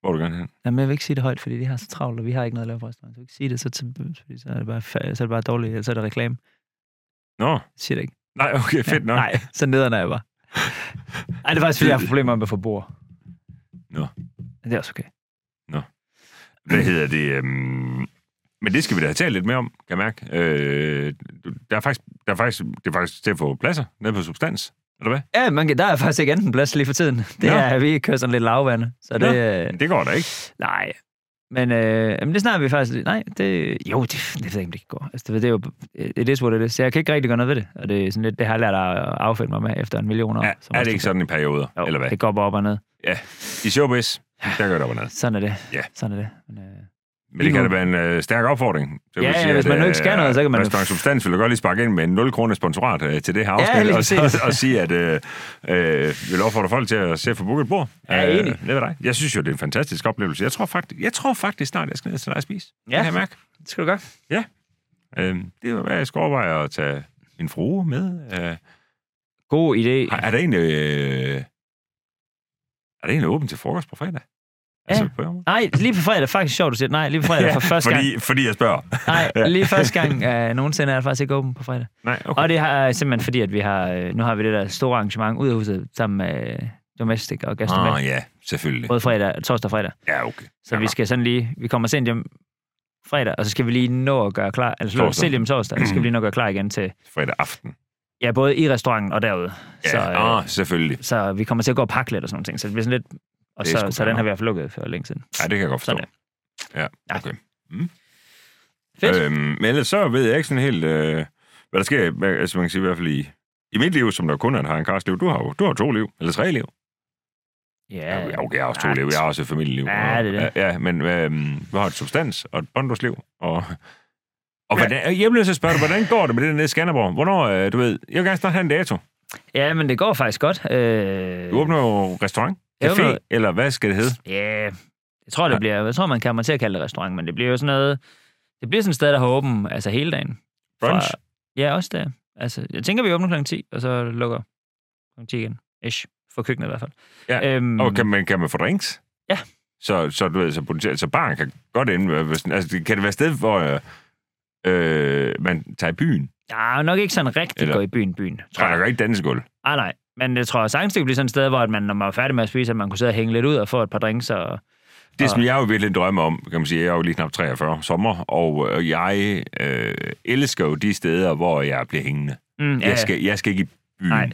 S1: hvor er du gerne hen.
S2: Jamen, jeg vil ikke sige det højt, fordi de har så travlt, og vi har ikke noget at lave på restauranten. Jeg vil ikke sige det, så, så, fordi så, er det bare, fa- så er det bare dårligt, eller så er det reklame.
S1: Nå,
S2: Jeg siger det ikke.
S1: nej, okay, fedt nok.
S2: Nej, så nederen er jeg bare. Ej, det er faktisk, fordi jeg har problemer med at få bord.
S1: Nå.
S2: Men det er også okay.
S1: hvad hedder det? Øhm, men det skal vi da have talt lidt mere om, kan jeg mærke. Øh, der er faktisk, der er faktisk, det er faktisk til at få pladser nede på substans, eller hvad?
S2: Ja, man kan, der er faktisk ikke anden plads lige for tiden. Det
S1: Nå.
S2: er, at vi kører sådan lidt lavvande. Så det... Øh,
S1: Men det går da ikke.
S2: nej. Men øh, jamen, det snakker vi faktisk... Nej, det... Jo, det, det ved jeg ikke, om det går. Altså, det, det er jo... It is what it is. Så jeg kan ikke rigtig gøre noget ved det. Og det, er sådan lidt, det har jeg lært at affinde mig med efter en million år.
S1: Ja,
S2: som
S1: er
S2: også
S1: det
S2: du
S1: ikke
S2: gør.
S1: sådan i perioder,
S2: Jo,
S1: eller hvad?
S2: det går bare op og ned.
S1: I showbiz, der gør det op og ned.
S2: Sådan er det.
S1: Ja.
S2: Sådan er det. Men, øh,
S1: Men det kan da være en øh, stærk opfordring. Så vil
S2: Ja,
S1: jeg
S2: ja, hvis man nu ikke skal
S1: øh,
S2: noget, så kan man jo-
S1: Restaurant Substans vil jeg godt lige sparke ind med en 0 kroner sponsorat øh, til det her
S2: Ja,
S1: afsnit,
S2: lige
S1: og, så,
S2: præcis.
S1: og sige, at øh, øh, vil opfordre folk til at se at få booket et bord.
S2: Ja,
S1: Øh,
S2: enig.
S1: ned ved dig. Jeg synes jo, det er en fantastisk oplevelse. Jeg tror faktisk, jeg tror faktisk snart, jeg skal ned til dig og spise.
S2: Ja.
S1: Det kan jeg mærke.
S2: det skal du gøre.
S1: Øhm, det var, hvad jeg skulle overveje at tage en frue med. Øh,
S2: God idé.
S1: har- er der egentlig... Øh, er det egentlig åbent til frokost på fredag? Altså, på jammer.
S2: Nej, lige på fredag. Faktisk sjovt, du siger. Nej, lige på fredag
S1: Ja,
S2: for første gang.
S1: fordi, fordi jeg spørger.
S2: Nej, lige første gang øh, nogensinde er jeg faktisk ikke åben på fredag.
S1: Nej, okay.
S2: Og det er simpelthen fordi, at vi har, øh, nu har vi det der store arrangement ud af huset sammen med øh, Domestic og Gastromat.
S1: Ah, ja, selvfølgelig.
S2: Både fredag, torsdag og fredag.
S1: Ja, okay.
S2: Så vi skal sådan lige, vi kommer sent hjem fredag, og så skal vi lige nå at gøre klar, altså
S1: Torsdag.
S2: torsdag. selv hjem torsdag, så skal vi lige nå at gøre klar igen til,
S1: Fredag aften.
S2: ja, både i restauranten og derude.
S1: Ja,
S2: så, øh,
S1: ah, selvfølgelig.
S2: så vi kommer til at gå og pakke lidt og sådan nogle ting, så det bliver sådan lidt, og
S1: Det er
S2: så,
S1: sgu
S2: så den
S1: fair
S2: har vi i hvert fald lukket for længe siden.
S1: Ja, det kan jeg godt forstå.
S2: Sådan
S1: Ja,
S2: Ja.
S1: okay. Mm.
S2: Fedt.
S1: Øhm, men ellers så ved jeg ikke sådan helt, øh, hvad der sker, hvad- altså man kan sige i hvert fald i, I mit liv, som der kun er et Harry liv, du har jo du har to liv, eller tre liv. Ja, ja, okay, jeg har også to
S2: nej.
S1: liv, jeg har også et familieliv.
S2: Ja, det er det.
S1: Ja, ja men øh, vi har et substans og et båndusliv, og... Og hvordan, jeg bliver så spørge dig, hvordan går det med det der Skanderborg? Hvornår, øh, du ved, jeg vil gerne snart have en dato.
S2: Ja, men det går faktisk godt. Øh,
S1: Du åbner jo restaurant,
S2: Jeg åbner-
S1: café, eller hvad skal det hedde?
S2: Ja, jeg tror, det bliver... Jeg tror, man kan man til at kalde det restaurant, men det bliver jo sådan noget... Det bliver sådan et sted, der har åben altså hele dagen.
S1: Brunch?
S2: Fra- Ja, også der. Altså, jeg tænker, vi åbner kl. 10, og så lukker kl. 10 igen. Ish. For køkkenet i hvert fald.
S1: Ja,
S2: øhm,
S1: Og kan man, kan man få drinks?
S2: Ja.
S1: Så, så, du ved, så, potentielt, så baren kan godt ende... hvis- Altså, det- kan det være et sted, hvor øh, øh, man tager i byen?
S2: Ja, nok ikke sådan rigtig
S1: Eller-
S2: Eller... gå i byen, byen.
S1: Tror jeg, der ikke dansegulv.
S2: Nej, nej. Men jeg tror sagtens, det kunne blive sådan et sted, hvor at man, når man var færdig med at spise, at man kunne sidde og hænge lidt ud og få et par drinks. Og...
S1: Det,
S2: Ah.
S1: som jeg jo virkelig drømmer om, kan man sige, jeg er jo lige knap 43 sommer, og øh, jeg øh, elsker jo de steder, hvor jeg bliver hængende.
S2: Mm,
S1: Ja. Jeg, skal, jeg skal ikke i byen.
S2: Nej.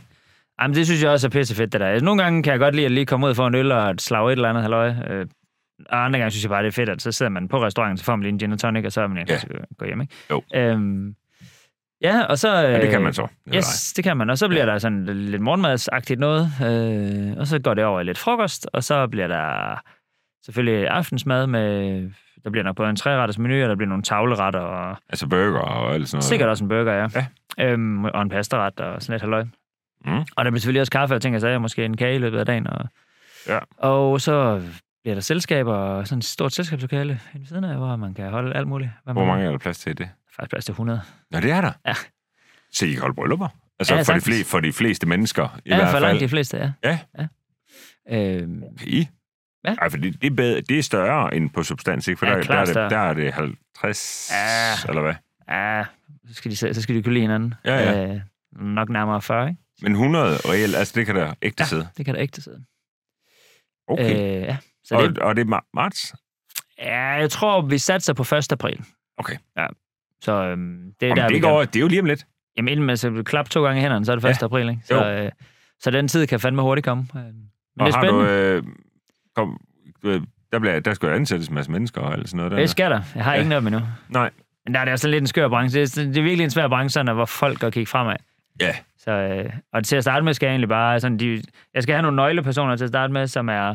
S2: Jamen, det synes jeg også er pissefedt, det der. Altså, nogle gange kan jeg godt lide at lige komme ud for en øl og et slag et eller andet, halløj. Øh, og andre gange synes jeg bare, det er fedt, at så sidder man på restauranten, så får man lige en gin og tonic, og så er man
S1: Ja.
S2: ja. gå hjem, ikke?
S1: Jo.
S2: Øhm, ja, og så... Øh,
S1: Ja, det kan man så. Det er dig.
S2: Yes, det kan man. Og så bliver der sådan lidt morgenmadsagtigt noget, øh, og så går det over i lidt frokost, og så bliver der selvfølgelig aftensmad med... Der bliver nok både en træretters menu, og der bliver nogle tavleretter, og
S1: Altså burger og alt sådan noget.
S2: Sikkert også en burger, ja.
S1: Ja.
S2: Øhm, og en pastaret og sådan lidt halløj.
S1: Mm.
S2: Og der bliver selvfølgelig også kaffe, og jeg tænker, så er jeg måske en kage i løbet af dagen. Og,
S1: Ja.
S2: og så bliver der selskaber, og sådan et stort selskabslokale inde ved siden af, hvor man kan holde alt muligt. Hvad man-
S1: Hvor mange er der plads til i det?
S2: Der er Faktisk plads til 100.
S1: Nå, det er der.
S2: Ja.
S1: Så I kan holde bryllupper? Altså
S2: Ja,
S1: ja, for, de
S2: sagtens.
S1: fleste, for de fleste mennesker, i
S2: ja,
S1: hvert
S2: for
S1: fald.
S2: langt de fleste, ja.
S1: Ja.
S2: ja. Øhm,
S1: I?
S2: Ja.
S1: Ej, for det, det, er bedre, det er større end på substans, ikke? For
S2: Ja,
S1: der, der, er
S2: klart
S1: det,
S2: større.
S1: der er det 50,
S2: Ja.
S1: eller hvad?
S2: ja, så skal, de, se- så skal de kunne lide hinanden.
S1: Ja, ja.
S2: Øh, nok nærmere 40, ikke?
S1: Men 100 reelt, altså det kan der ægte ja. sidde.
S2: Det kan der ikke sidde.
S1: Okay.
S2: Øh, ja. Så
S1: og,
S2: det,
S1: det... og det er ma- marts?
S2: ja, jeg tror, vi satser på 1. april.
S1: Okay.
S2: Ja. Så øhm, det er
S1: Jamen,
S2: der, vi
S1: det,
S2: gerne-
S1: går, det er jo lige om lidt.
S2: Jamen inden man så klap to gange i hænderne, så er det 1. Ja. april, ikke? Så,
S1: Jo.
S2: øh, så den tid kan fandme hurtigt komme. Øh, Men
S1: Og
S2: det er
S1: har du...
S2: spændende.
S1: Øh, kom, du ved, der, bliver, der skal jo ansættes en masse mennesker og alt sådan noget. Der.
S2: det skal der. Jeg har
S1: øh, Ja.
S2: ja. ingen af dem endnu.
S1: Nej.
S2: Men der er det også sådan lidt en skør branche. Det er, det er virkelig en svær branche, sådan, at hvor folk går kigge fremad.
S1: Ja.
S2: Så, øh, og til at starte med skal jeg egentlig bare... Sådan, de, jeg skal have nogle nøglepersoner til at starte med, som er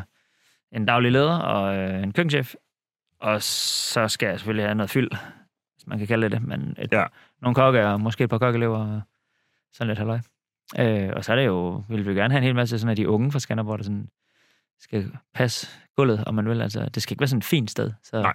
S2: en daglig leder og øh, en køkkenchef. Og så skal jeg selvfølgelig have noget fyld, hvis man kan kalde det det. Men et,
S1: Ja.
S2: nogle kokke og måske et par kokkelever og sådan lidt halløj. Øh, og så er det jo, vil vi gerne have en hel masse sådan af de unge fra Skanderborg, der sådan skal passe gulvet, om man vil. Altså, det skal ikke være sådan et fint sted. Så,
S1: Nej.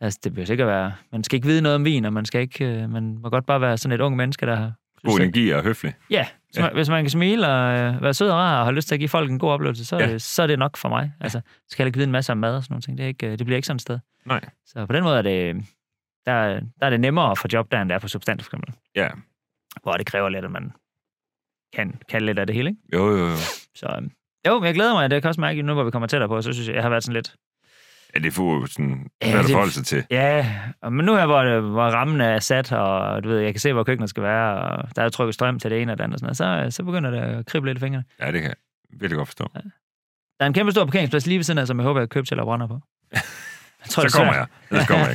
S2: Altså, det behøver sikkert være... Man skal ikke vide noget om vin, og man, skal ikke, øh, man må godt bare være sådan et ung menneske, der har...
S1: God energi og høflig.
S2: Ja, hvis man, hvis man kan smile og øh, være sød og rar og har lyst til at give folk en god oplevelse, så,
S1: Ja.
S2: ja. det, så er det nok for mig. Altså, jeg skal heller ikke vide en masse om mad og sådan nogle ting. Det, er ikke, øh, det bliver ikke sådan et sted.
S1: Nej.
S2: Så på den måde er det, øh, der, der er det nemmere at få job, der end det er på substans, for eksempel.
S1: Ja.
S2: Hvor det kræver lidt, at man kan, kan lidt af det hele, ikke?
S1: Jo, jo, jo.
S2: Så øh, jo, men jeg glæder mig. Det kan også mærke, at nu hvor vi kommer tættere på, så synes jeg, jeg har været sådan lidt...
S1: Ja, det får jo sådan,
S2: Ja,
S1: hvad ja, det...
S2: det-
S1: forholde sig til.
S2: Ja, og- men nu her, hvor, det- hvor rammen er sat, og du ved, jeg kan se, hvor køkkenet skal være, og der er trykket strøm til det ene og det andet, og sådan noget, så, så begynder det at krible lidt i fingrene.
S1: Ja, det kan jeg virkelig godt forstå.
S2: Der er en kæmpe stor parkeringsplads lige ved siden af, som jeg håber, jeg køber til eller brænder på. Jeg tror,
S1: Så kommer jeg. Så kommer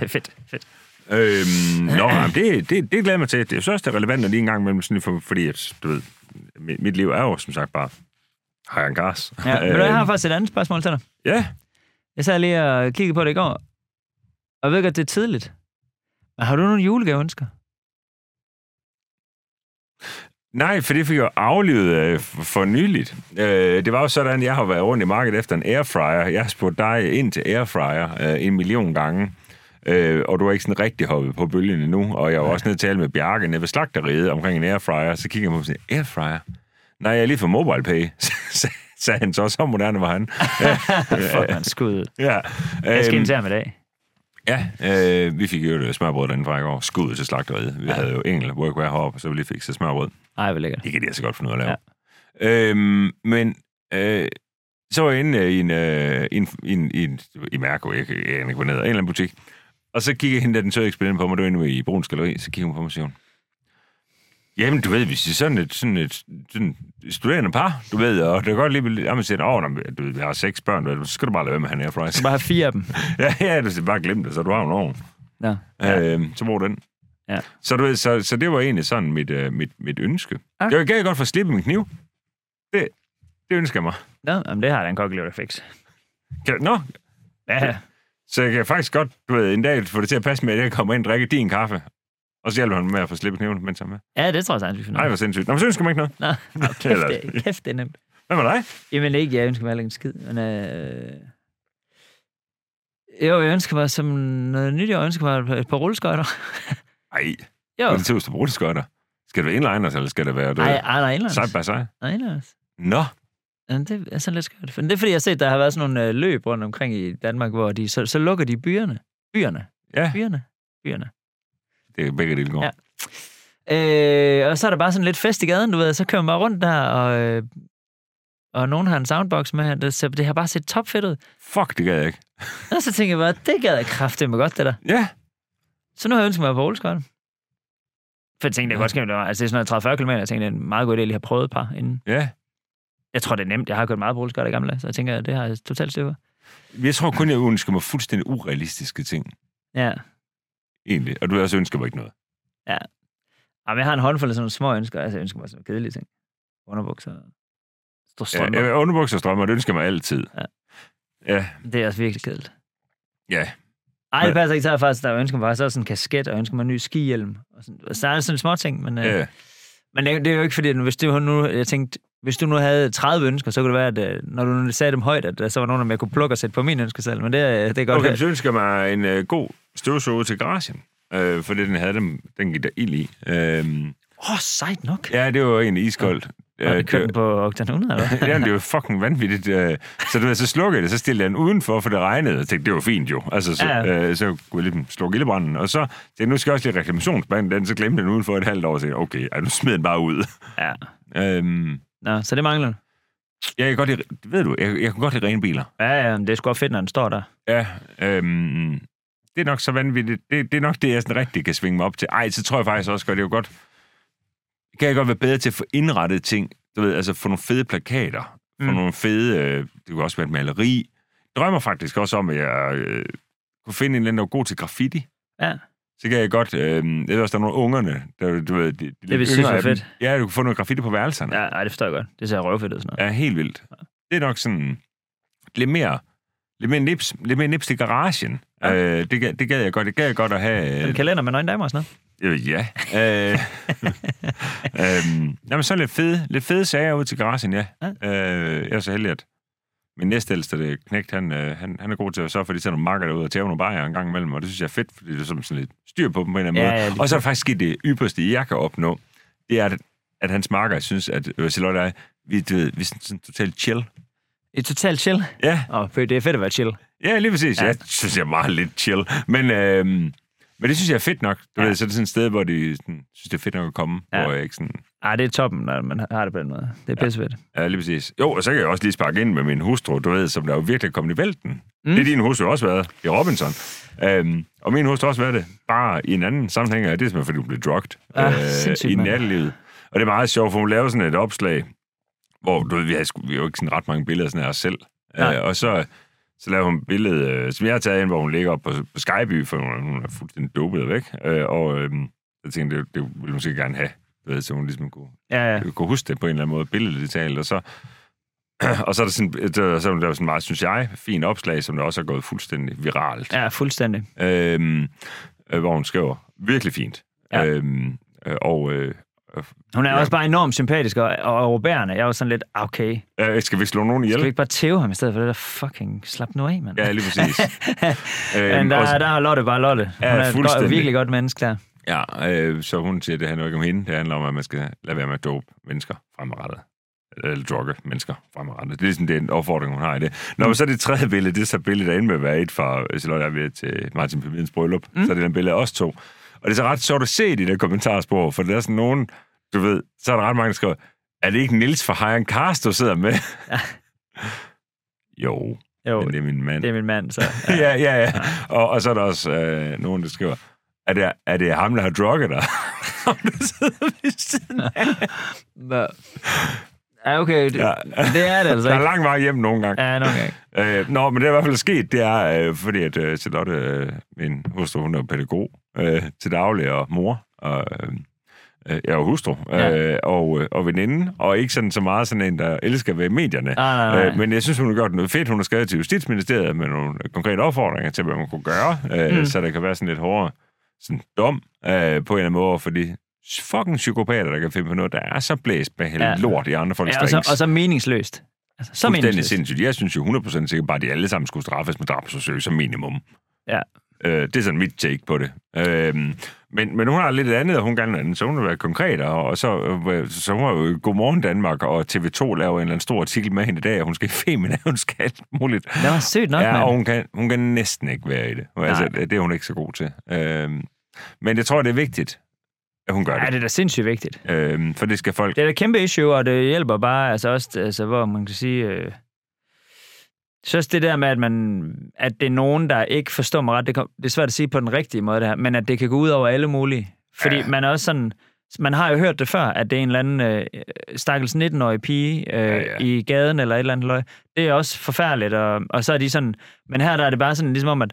S1: jeg.
S2: fedt, fedt.
S1: Øhm, nå, jamen, det, det, det glæder jeg mig til. Det er jo så også det relevante lige en gang imellem, sådan, for, fordi at, du ved, mit, mit liv er jo som sagt bare har jeg en gas.
S2: Ja, men jeg
S1: Øh.
S2: har faktisk et andet spørgsmål til dig.
S1: ja,
S2: Jeg sad lige og kiggede på det i går, og jeg ved godt, det er tidligt. Men har du nogle julegaveønsker?
S1: nej, for det fik jeg jo aflivet øh, for, for nyligt. Øh, det var jo sådan, jeg har været rundt i markedet efter en airfryer. Jeg har spurgt dig ind til airfryer øh, en million gange. Øh, og du har ikke sådan rigtig hoppet på bølgen endnu, og jeg var også nede og tale med Bjarke nede ved slagteriet omkring en airfryer, så kigger jeg på mig og siger, airfryer? Nej, jeg er lige for MobilePay, sagde han så, så moderne var han.
S2: Fuck, man, skud.
S1: Ja.
S2: Jeg skal
S1: øhm,
S2: ind til ham i dag.
S1: Ja, øh, vi fik jo det smørbrød derinde fra i går. Skud til slagteriet. Vi ja. havde jo enkelt workwear heroppe, så vi lige fik så smørbrød.
S2: Ej, hvor lækkert.
S1: Det kan de altså godt finde ud af at lave. Ja. Øhm, men øh, så var jeg inde øh, i en, øh, i en, i en, i en i Mærko, jeg kan jeg aner ikke, hvor ned, en eller anden butik. Og så kiggede hende, da den så ekspedienten på mig, det var inde i Bruns Galeri, så kiggede hun på mig og siger, hun, Jamen, du ved, hvis det er sådan et, sådan et sådan et studerende par, du ved, og det er godt lige, at man siger, åh, nå, men du ved, vi har seks børn, du ved, så skal du bare lade være med han her,
S2: Du bare have fire af dem.
S1: Ja, ja, du skal bare glemme det, så du har en ovn.
S2: Nå.
S1: Ja. Øh, så brug den.
S2: Ja.
S1: Så, du ved, så, så det var egentlig sådan mit, øh, mit, mit ønske.
S2: Okay.
S1: Okay. Jeg kan godt få slippet min kniv. Det, det ønsker jeg mig.
S2: Nå, jamen, det har den kokkelever, der fik.
S1: Kan, nå,
S2: Ja,
S1: så jeg kan faktisk godt du ved, en dag få det til at passe med, at jeg kommer ind og drikker din kaffe. Og så hjælper han med at få slippet kniven, mens han er med.
S2: ja det tror jeg sagtens, vi finder.
S1: Nej, hvor sindssygt. Nå, men så ønsker man ikke noget.
S2: Nå, nå, kæft, det, er- kæft, det er nemt.
S1: Hvad med dig?
S2: Jamen ikke, jeg ønsker mig heller ikke en skid, men... Øh... Jo, jeg ønsker mig som noget nyt, jeg ønsker mig et par rulleskøjter.
S1: Ej,
S2: Jo,
S1: det er til at bruge det skøjter. Skal det være inliners, eller skal det være du
S2: ej,
S1: ved,
S2: ej, nej, indlands.
S1: side by side?
S2: Nej, indlands.
S1: Nå,
S2: Ja, det er sådan lidt skørt. Men det er, fordi jeg har set, der har været sådan nogle øh, løb rundt omkring i Danmark, hvor de, så, så lukker de byerne. Byerne.
S1: ja,
S2: Byerne. Byerne.
S1: det er begge dele går.
S2: Ja. Øh, og så er der bare sådan lidt fest i gaden, du ved. Så kører man bare rundt der, og, øh, og nogen har en soundbox med. Det, ser, det har bare set topfedt ud.
S1: Fuck, det gad jeg ikke.
S2: Og så tænker jeg bare, det gad jeg kraftedeme godt, det der.
S1: Ja,
S2: Så nu har jeg ønsket mig på Olskøjten. For jeg tænkte, det er godt ske, det var- altså det er sådan noget 30-40 km, jeg tænkte, det er en meget god idé, at jeg lige har prøvet et par inden.
S1: ja.
S2: Jeg tror, det er nemt. Jeg har kørt meget på Olskøjten i gamle dage, så jeg tænker, det har jeg totalt styr på.
S1: Jeg tror kun, jeg ønsker mig fuldstændig urealistiske ting,
S2: Ja.
S1: egentlig. Og du ved, også ønsker mig ikke noget.
S2: Jamen, jeg har en håndfuld af sådan nogle små ønsker. Altså, jeg ønsker mig sådan nogle kedelige ting. Underbukser. Stor strømper.
S1: Ja, underbukser og strømmer, det ønsker jeg mig altid.
S2: Ja.
S1: Ja,
S2: Det er også virkelig kedeligt.
S1: ja.
S2: Ej,
S1: Men-
S2: det passer ikke. Så har jeg faktisk, der ønsker mig faktisk også en kasket, og jeg ønsker mig en ny skihjelm. Og sådan, så er det sådan små ting, men, øh,
S1: ja.
S2: men det, det, er jo ikke fordi, at hvis du nu, jeg tænkte, hvis du nu havde 30 ønsker, så kunne det være, at øh, når du nu sagde dem højt, at der så var nogen, der jeg kunne plukke og sætte på min ønske selv. Men det, øh, det er godt.
S1: Okay,
S2: Okay.
S1: så ønsker jeg mig en øh, god støvsuger til garagen. Øh, fordi den havde dem, den gik der ild i. Øh,
S2: Åh, oh, sejt nok.
S1: ja, det var egentlig iskoldt.
S2: Har
S1: Øh,
S2: du kørt den på Octan 100, eller hvad?
S1: Ja, men det var fucking vanvittigt. øh. Så du ved, så slukkede jeg det, så stillede jeg den udenfor, for det regnede. Jeg tænkte, det var fint jo. Altså, så,
S2: Ja,
S1: ja. øh, så kunne jeg lige slukke ildebranden. Og så tænkte jeg, nu skal jeg også lige reklamationsbanden den, så glemte jeg den udenfor et halvt år. Så tænkte jeg, okay, ej, nu smed den bare ud.
S2: Ja.
S1: øhm,
S2: Nå, så det mangler du.
S1: jeg kan godt lide, ved du, jeg, jeg kan godt lide rene biler.
S2: Ja, ja, men det er sgu også fedt, når den står der.
S1: Ja, øhm, det er nok så vanvittigt. Det, det er nok det, jeg sådan rigtig kan svinge mig op til. Ej, så tror jeg faktisk også godt, det er jo godt... Kan jeg godt være bedre til at få indrettet ting? Du ved, altså få nogle fede plakater. Få
S2: Mm.
S1: nogle fede... Øh, det kunne også være et maleri. Jeg drømmer faktisk også om, at jeg øh, kunne finde en eller anden, der var god til graffiti.
S2: Ja.
S1: Så kan jeg godt... Øh, jeg ved også, der er nogle af ungerne, der, du ved... De, de lidt
S2: vil synes
S1: yngre
S2: var
S1: af dem.
S2: fedt.
S1: Ja, du kunne få noget graffiti på værelserne.
S2: Ja, ej, det forstår jeg godt. Det ser røvfedt ud sådan noget.
S1: Ja, helt vildt. Det er nok sådan lidt mere, lidt mere, nips, lidt mere nips til garagen.
S2: Ja.
S1: Ja. Øh, det, gad- det gad jeg godt. Det gad jeg godt at have...
S2: En
S1: Øh,
S2: kalender med nøgne damer og sådan noget.
S1: øh, ja. Øh, øhm, jamen, så lidt fede, lidt fede sager ud til garagen, ja.
S2: Ja.
S1: ja. Øh, jeg er så heldig, at min næstældste det er knægt, han, øh, han, han er god til at sørge for, at de tager nogle marker derude og tager nogle bajer en gang imellem, og det synes jeg er fedt, fordi det er sådan, sådan lidt styr på dem på en eller anden
S2: Ja,
S1: måde.
S2: ja, lige
S1: og så er det faktisk sket det ypperste, jeg kan opnå, det er, at, at hans marker synes, at øh, Charlotte og jeg, vi, du ved, vi er sådan, sådan totalt chill.
S2: Et totalt chill.
S1: Ja,
S2: Åh, oh, det er fedt at være chill.
S1: ja lige præcis.
S2: Ja.
S1: Ja. Jeg synes, jeg er meget lidt chill. Men, øhm, men det synes jeg er fedt nok. Du
S2: Ja.
S1: ja. ved, så er det sådan et sted, hvor de sådan, synes, det er fedt nok at komme.
S2: Ja.
S1: Ja. Hvor jeg ikke sådan...
S2: Ah, det er toppen, når man har det på den måde. Det er pissefedt.
S1: Ja, lige præcis. Jo, og så kan jeg også lige sparke ind med min hustru, du ved, som der jo virkelig er kommet i vælten.
S2: Mm.
S1: Mm. Det er din hustru også været i Robinson. Øhm, og min hustru har også været det, bare i en anden sammenhæng, og det er simpelthen, fordi hun blev drugt
S2: Ah, sindssygt,
S1: i
S2: mand.
S1: nattelivet. Og det er meget sjovt, for hun lavede sådan et opslag, hvor du ved, vi har, sgu- vi har jo ikke sådan ret mange billeder sådan af os selv.
S2: Nej.
S1: Øh, og så, så lavede hun et billede, øh, som jeg har taget ind, hvor hun ligger op på, på Skyby, for hun, hun er fuldstændig dopet væk. Øh, og øh, jeg tænkte, det, det ville hun sikkert gerne have, du ved, så hun ligesom kunne
S2: Ja, ja.
S1: jeg kunne huske det på en eller anden måde, billedet talt, og så, og så er der sådan, der, så er der sådan meget, synes jeg, fint opslag, som der også er gået fuldstændig viralt,
S2: Ja, fuldstændig.
S1: ja. øhm, øh, hvor hun skriver, virkelig fint.
S2: Ja.
S1: Ja. Øhm, øh, og øh,
S2: Hun er ja.
S1: Ja.
S2: også bare enormt sympatisk og, og overbærende. Jeg var sådan lidt, ah, okay,
S1: øh, skal vi slå nogen
S2: skal vi
S1: ihjel?
S2: ikke bare tæve ham i stedet for det der fucking slap nu af, mand?
S1: Ja, lige præcis.
S2: Men
S1: øhm,
S2: der,
S1: og,
S2: der er Lotte bare Lotte. Hun
S1: Ja,
S2: er et godt,
S1: fuldstændig.
S2: virkelig godt menneske der.
S1: ja, øh, så hun siger, at det handler ikke om hende, det handler om, at man skal lade være med at dope mennesker fremadrettet. Eller drogge mennesker fremadrettet. Det er ligesom den opfordring, hun har i det. Nå, men så er det tredje billede, det er så billedet, der ender med at være et fra øh, Charlotte og jeg ved til Martin Pemidens bryllup. Mm. Så er det den billede af os to. Og det er så ret sjovt at se det i det kommentarspor, for der er sådan nogen, du ved, så er der ret mange, der skriver, er det ikke Nils fra Hayan Cast, du sidder med? jo,
S2: Jo,
S1: men det er min mand.
S2: det er min mand, så... Ja.
S1: ja, ja, ja. Og, og så er der også øh, nogen, der skriver, er det, er det ham, der har drukket dig?
S2: Nå. ja, okay, det, ja.
S1: Ja.
S2: det er det altså
S1: Der er
S2: ikke.
S1: lang vej hjem nogle gange.
S2: Ja, nogle gange.
S1: Øh, nå, men det er i hvert fald sket, det er, øh, fordi at øh, Charlotte, øh, min hustru, hun er pædagog, øh, til daglig, og mor, og øh, øh, ja, og hustru,
S2: Ja.
S1: øh, og, øh, og veninde, og ikke sådan så meget sådan en, der elsker at være i medierne.
S2: Nej, nej, nej.
S1: Øh, men jeg synes, hun har gjort noget fedt. Hun har skrevet til Justitsministeriet med nogle øh, konkrete opfordringer til, hvad man kunne gøre, øh,
S2: Mm.
S1: mm. så der kan være sådan lidt hårdere sådan dom øh, på en eller anden måde for de fucking psykopater, der kan finde på noget, der er så blæst med hele
S2: Ja.
S1: ja. lort i andre folks
S2: Ja,
S1: ja,
S2: og, så,
S1: drinks.
S2: og så meningsløst. Altså, så
S1: Fuldstændig
S2: meningsløst.
S1: sindssygt. Jeg synes jo 100% sikkert bare, at de alle sammen skulle straffes med drabsforsøg som minimum.
S2: Ja.
S1: Øh, det er sådan mit take på det. Øh, men, men hun har lidt et andet, og hun gerne vil andet, så hun har været konkret, og, og så, øh, så hun har jo Godmorgen Danmark, og TV2 laver en eller anden stor artikel med hende i dag, og hun skal i Femina, hun skal alt muligt.
S2: Det var sødt nok,
S1: Ja, oh og
S2: mand.
S1: hun kan, hun kan næsten ikke være i det. Altså, det er hun ikke så god til. Øh, men jeg tror, det er vigtigt, at hun gør
S2: Ja,
S1: det.
S2: det er da sindssygt vigtigt.
S1: Øh, for det skal folk...
S2: Det er da et kæmpe issue, og det hjælper bare, altså også, altså, hvor man kan sige... Øh, så også det der med, at, man, at det er nogen, der ikke forstår mig ret, det, kom, det er svært at sige på den rigtige måde, det her, men at det kan gå ud over alle mulige. Fordi ja.
S1: Ja.
S2: man er også sådan... Man har jo hørt det før, at det er en eller anden øh, stakkels 19-årig pige øh, ja, ja.
S1: ja.
S2: i gaden eller et eller andet løg. Det er også forfærdeligt, og, og så er de sådan... Men her der er det bare sådan, ligesom om, at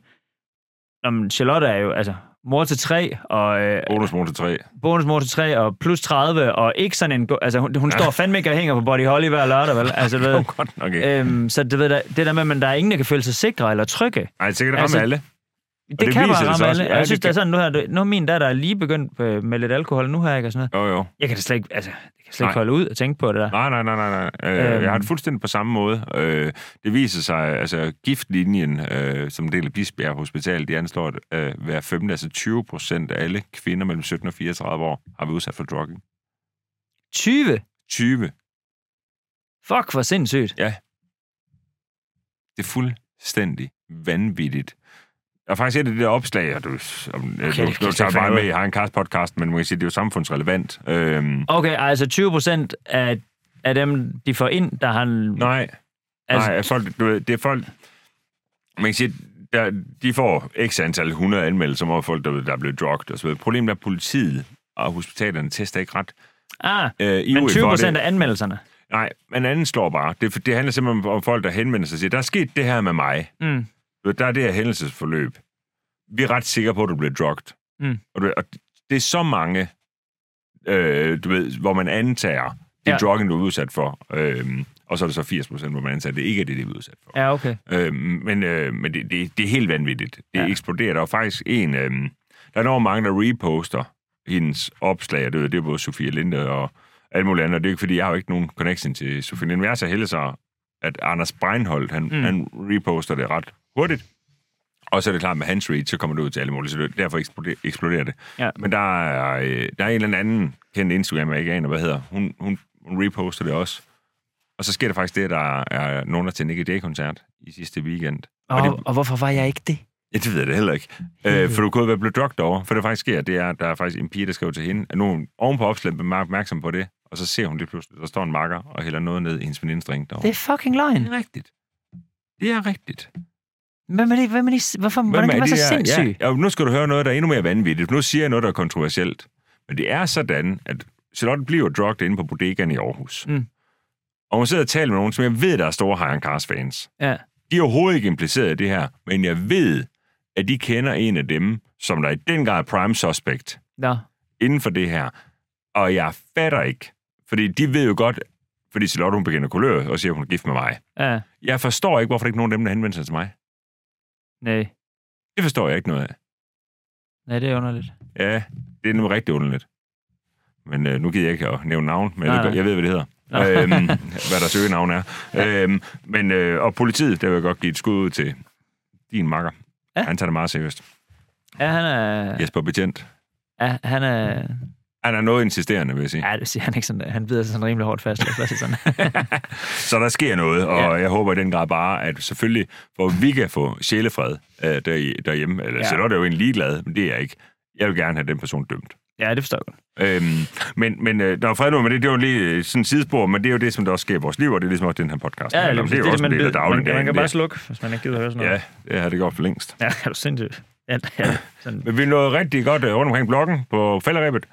S2: om Charlotte er jo altså, mor til tre, og, øh,
S1: Bonusmotor 3.
S2: bonusmor til 3 og plus 30, og ikke sådan en... go- Altså, hun, hun ja.
S1: Ja.
S2: står fandme ikke og hænger på Body Holly hver lørdag, vel? Altså, du ved,
S1: Hun godt nok ikke.
S2: øhm, så det, ved, der- det der med, at der er ingen, der kan føle sig sikre eller trygge.
S1: Ej, så kan det ramme
S2: altså,
S1: alle.
S2: Det,
S1: det
S2: kan
S1: viser
S2: bare
S1: det
S2: ramme
S1: sig også.
S2: alle. Ja,
S1: Ja,
S2: jeg
S1: det
S2: synes, det er
S1: kan-
S2: sådan, nu, her, nu er min datter lige begyndt øh, med lidt alkohol nu her, ikke? Og sådan noget.
S1: Jo, jo.
S2: Jeg kan da slet ikke, altså, jeg kan slet ikke
S1: Nej.
S2: holde ud og tænke på det der.
S1: Nej, nej, nej, nej. nej. Øh,
S2: Øhm.
S1: Jeg har det fuldstændig på samme måde. Øh, det viser sig, altså giftlinjen, øh, som en del af Bispebjerg Hospital, de anslår, at øh, hver femte, altså 20 procent af alle kvinder mellem 17 og 34 år, har været udsat for drugging.
S2: 20?
S1: 20.
S2: Fuck, hvor sindssygt.
S1: Det er fuldstændig vanvittigt. Og faktisk er det det der opslag, og du, om, okay,
S2: det
S1: du,
S2: kan
S1: du
S2: jeg slet
S1: tager
S2: ikke
S1: bare
S2: finde ud
S1: med,
S2: af.
S1: jeg har en podcast, men man kan sige, det er jo samfundsrelevant. Øhm,
S2: Okay, altså 20 procent af, af dem, de får ind, der har... Nej,
S1: nej,
S2: altså,
S1: Altså... Nej, folk, du ved, det er folk... Man kan sige, der, de får x antal 100 anmeldelser om folk, der, der er blevet drugt og så videre. Problemet er, at politiet og hospitalerne tester ikke ret.
S2: ah,
S1: Øh, ivrigt
S2: men 20
S1: for det.
S2: procent af anmeldelserne.
S1: Nej, men anden slår bare. Det, det handler simpelthen om folk, der henvender sig og siger, der er sket det her med mig.
S2: Mm.
S1: Du ved, Der er det her hændelsesforløb. Vi er ret sikre på, at du blev drugt.
S2: Mm.
S1: Og, du, og det er så mange, øh, du ved, hvor man antager, det er
S2: Ja.
S1: ja. drugging, du er udsat for. Øhm, og så er det så 80 procent, hvor man antager, det ikke er det, de er udsat for.
S2: Ja, okay.
S1: Øh, men øh, men det, det, det er helt vanvittigt. Det
S2: Ja.
S1: ja. eksploderer. Der er faktisk en... Øh, der er enormt mange, der reposter hendes opslag. og Det, er- det er både Sofie Linde og alt muligt andet. Og det er ikke, fordi jeg har jo ikke nogen connection til Sofie Linde. Men jeg er så heldig så, at Anders Breinholt, han, mm. han reposter det ret hurtigt. Og så er det klart, med hans read, så kommer det ud til alle mulige, så det, derfor eksploderer, eksploderer det.
S2: Ja.
S1: Men der er, øh, der er en eller anden kendt Instagram, jeg ikke aner, hvad hedder. Hun, hun, hun reposter det også. Og så sker der faktisk det, at der er nogen, der til Nicky Day-koncert i sidste weekend.
S2: Og,
S1: Og
S2: og,
S1: det-
S2: og hvorfor var jeg ikke det?
S1: Ja, det ved jeg det heller ikke. Øh, for du kunne jo være blevet drugt over. For det der faktisk sker, det er, at der er faktisk en pige, der skriver til hende, at nogen oven på opslaget er opmærksom på det, og så ser hun lige pludselig, der står en makker og hælder noget ned i hendes venindes drink derovre.
S2: Det er fucking løgn.
S1: er rigtigt. Det er rigtigt.
S2: Hvem er det, hvem er det, hvorfor, Hvem hvordan kan man
S1: er
S2: være
S1: de
S2: så
S1: der-
S2: sindssyg? Ja.
S1: Ja, og nu skal du høre noget, der er endnu mere vanvittigt. Nu siger jeg noget, der er kontroversielt. Men det er sådan, at Charlotte bliver drugt inde på bodegaen i Aarhus.
S2: Mm.
S1: Og hun sidder og taler med nogen, som jeg ved, der er store Hagen Cars fans.
S2: Ja.
S1: De er overhovedet ikke impliceret i det her, men jeg ved, at de kender en af dem, som der i den grad er prime suspect
S2: Nå.
S1: inden for det her. Og jeg fatter ikke, fordi de ved jo godt, fordi Charlotte hun begynder at kuløre og siger, at hun er gift med mig.
S2: Ja,
S1: Jeg forstår ikke, hvorfor der ikke er nogen af dem, der henvender sig til mig.
S2: nej.
S1: Det forstår jeg ikke noget af.
S2: Nej, det er underligt.
S1: Ja, det er nu rigtig underligt. Men øh, nu gider jeg ikke at nævne navn, men
S2: Nej,
S1: jeg, ved,
S2: nej.
S1: jeg ved, hvad det hedder. øhm, hvad der søgenavn er. Øhm, men, øh, og politiet, der vil jeg godt give et skud ud til din makker.
S2: Ja.
S1: Ja. Han tager det meget seriøst.
S2: Ja, han er...
S1: Ja. Jesper Betjent.
S2: Ja, han er...
S1: Han er noget insisterende, vil jeg sige. Ja.
S2: Ja, det siger han ikke sådan. Han bider sig sådan rimelig hårdt fast. Lad os bare sige sådan.
S1: Så der sker noget, og
S2: Ja.
S1: ja. jeg håber i den grad bare, at selvfølgelig, hvor vi kan få sjælefred øh, der, derhjemme, eller
S2: Ja.
S1: ja. Charlotte er jo en ligeglad, men det er jeg ikke. Jeg vil gerne have den person dømt.
S2: ja, det forstår jeg godt.
S1: Øhm, men men øh, der er fred nu, men det, det er jo lige øh, sådan et sidespor, men det er jo det, som der også sker i vores liv, og det er ligesom også det, den her podcast.
S2: Ja,
S1: handler
S2: lige
S1: om.
S2: præcis.
S1: det er jo også en del af
S2: man,
S1: dagligdagen.
S2: man kan bare
S1: det.
S2: slukke, hvis man ikke gider høre sådan noget.
S1: Ja, det har det gjort for længst.
S2: Ja, er du sindssygt? Ja, ja. Sådan.
S1: Men vi nåede rigtig godt øh, rundt omkring bloggen på fælderæbet.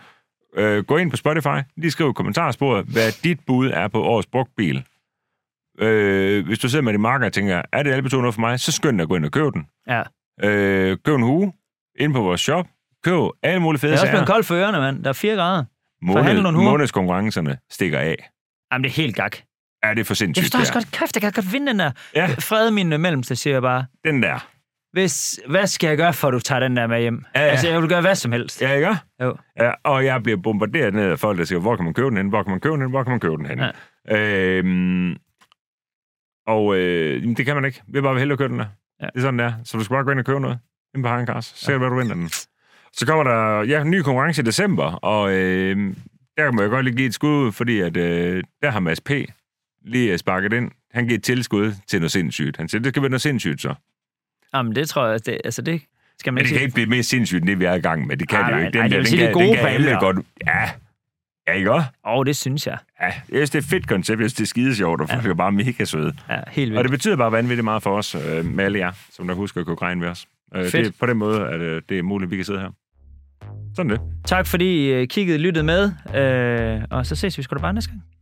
S1: Øh, gå ind på Spotify, lige skriv i kommentarsporet, hvad dit bud er på årets brugt bil. Øh, hvis du sidder med din marker og tænker, er det albeton noget for mig, så skynd dig at gå ind og købe den.
S2: ja.
S1: Øh, køb en hue ind på vores shop. Køb alle mulige
S2: Det
S1: fede
S2: er også
S1: sager.
S2: blevet koldt for ørerne, mand. Der er 4 grader.
S1: Måned,
S2: forhandle nogle huer.
S1: månedskonkurrencerne stikker af.
S2: Jamen, det er helt gak.
S1: Er det for
S2: Jeg
S1: sindssygt?
S2: forstår også
S1: det
S2: godt, kæft, jeg kan godt vinde den der.
S1: er? Ja,
S2: Fred min mellemste, siger jeg bare.
S1: den der.
S2: Hvis, hvad skal jeg gøre, for at du tager den der med hjem?
S1: Ja, ja.
S2: Altså, jeg vil gøre hvad som helst.
S1: Ja, ikke?
S2: Jo.
S1: Ja, og jeg bliver bombarderet ned af folk, der siger, hvor kan man købe den hen, hvor kan man købe den hen, hvor kan man købe den hen. Ja. Øhm, og øh, jamen, det kan man ikke. Vi er bare hellere købe den der. Ja.
S2: Ja.
S1: Det er sådan, der. Så du skal bare gå ind og købe noget. Ind på Hankars. Se, ja. hvad du vinder den. Så kommer der ja, en ny konkurrence i december, og øh, der må jeg godt lige give et skud, fordi at, øh, der har Mads P. lige øh, sparket ind. Han giver et tilskud til noget sindssygt. Han siger, det skal være noget sindssygt så.
S2: Jamen, det tror jeg, det, altså det skal man
S1: Men det
S2: ikke
S1: kan
S2: sige.
S1: ikke blive mere sindssygt, end det vi er i gang med. Det kan
S2: Ej,
S1: det jo
S2: nej,
S1: ikke. Den
S2: nej,
S1: der,
S2: det vil
S1: den
S2: sige, det er
S1: kan- den
S2: gode
S1: kan alle
S2: bander.
S1: godt... Ja, ja ikke også?
S2: Åh, oh, det synes jeg.
S1: Ja, jeg synes, det er et fedt koncept. Jeg synes, det er skide sjovt, og folk er bare mega søde.
S2: Ja, helt
S1: Og
S2: vildt.
S1: det betyder bare vanvittigt meget for os, øh, med alle jer, som der husker at købe regn med os. Øh,
S2: Fedt.
S1: det er på den måde, at øh, det er muligt, at vi kan sidde her. Sådan det.
S2: Tak fordi I øh, kiggede og lyttede med, øh, og så ses vi sgu da bare næste gang.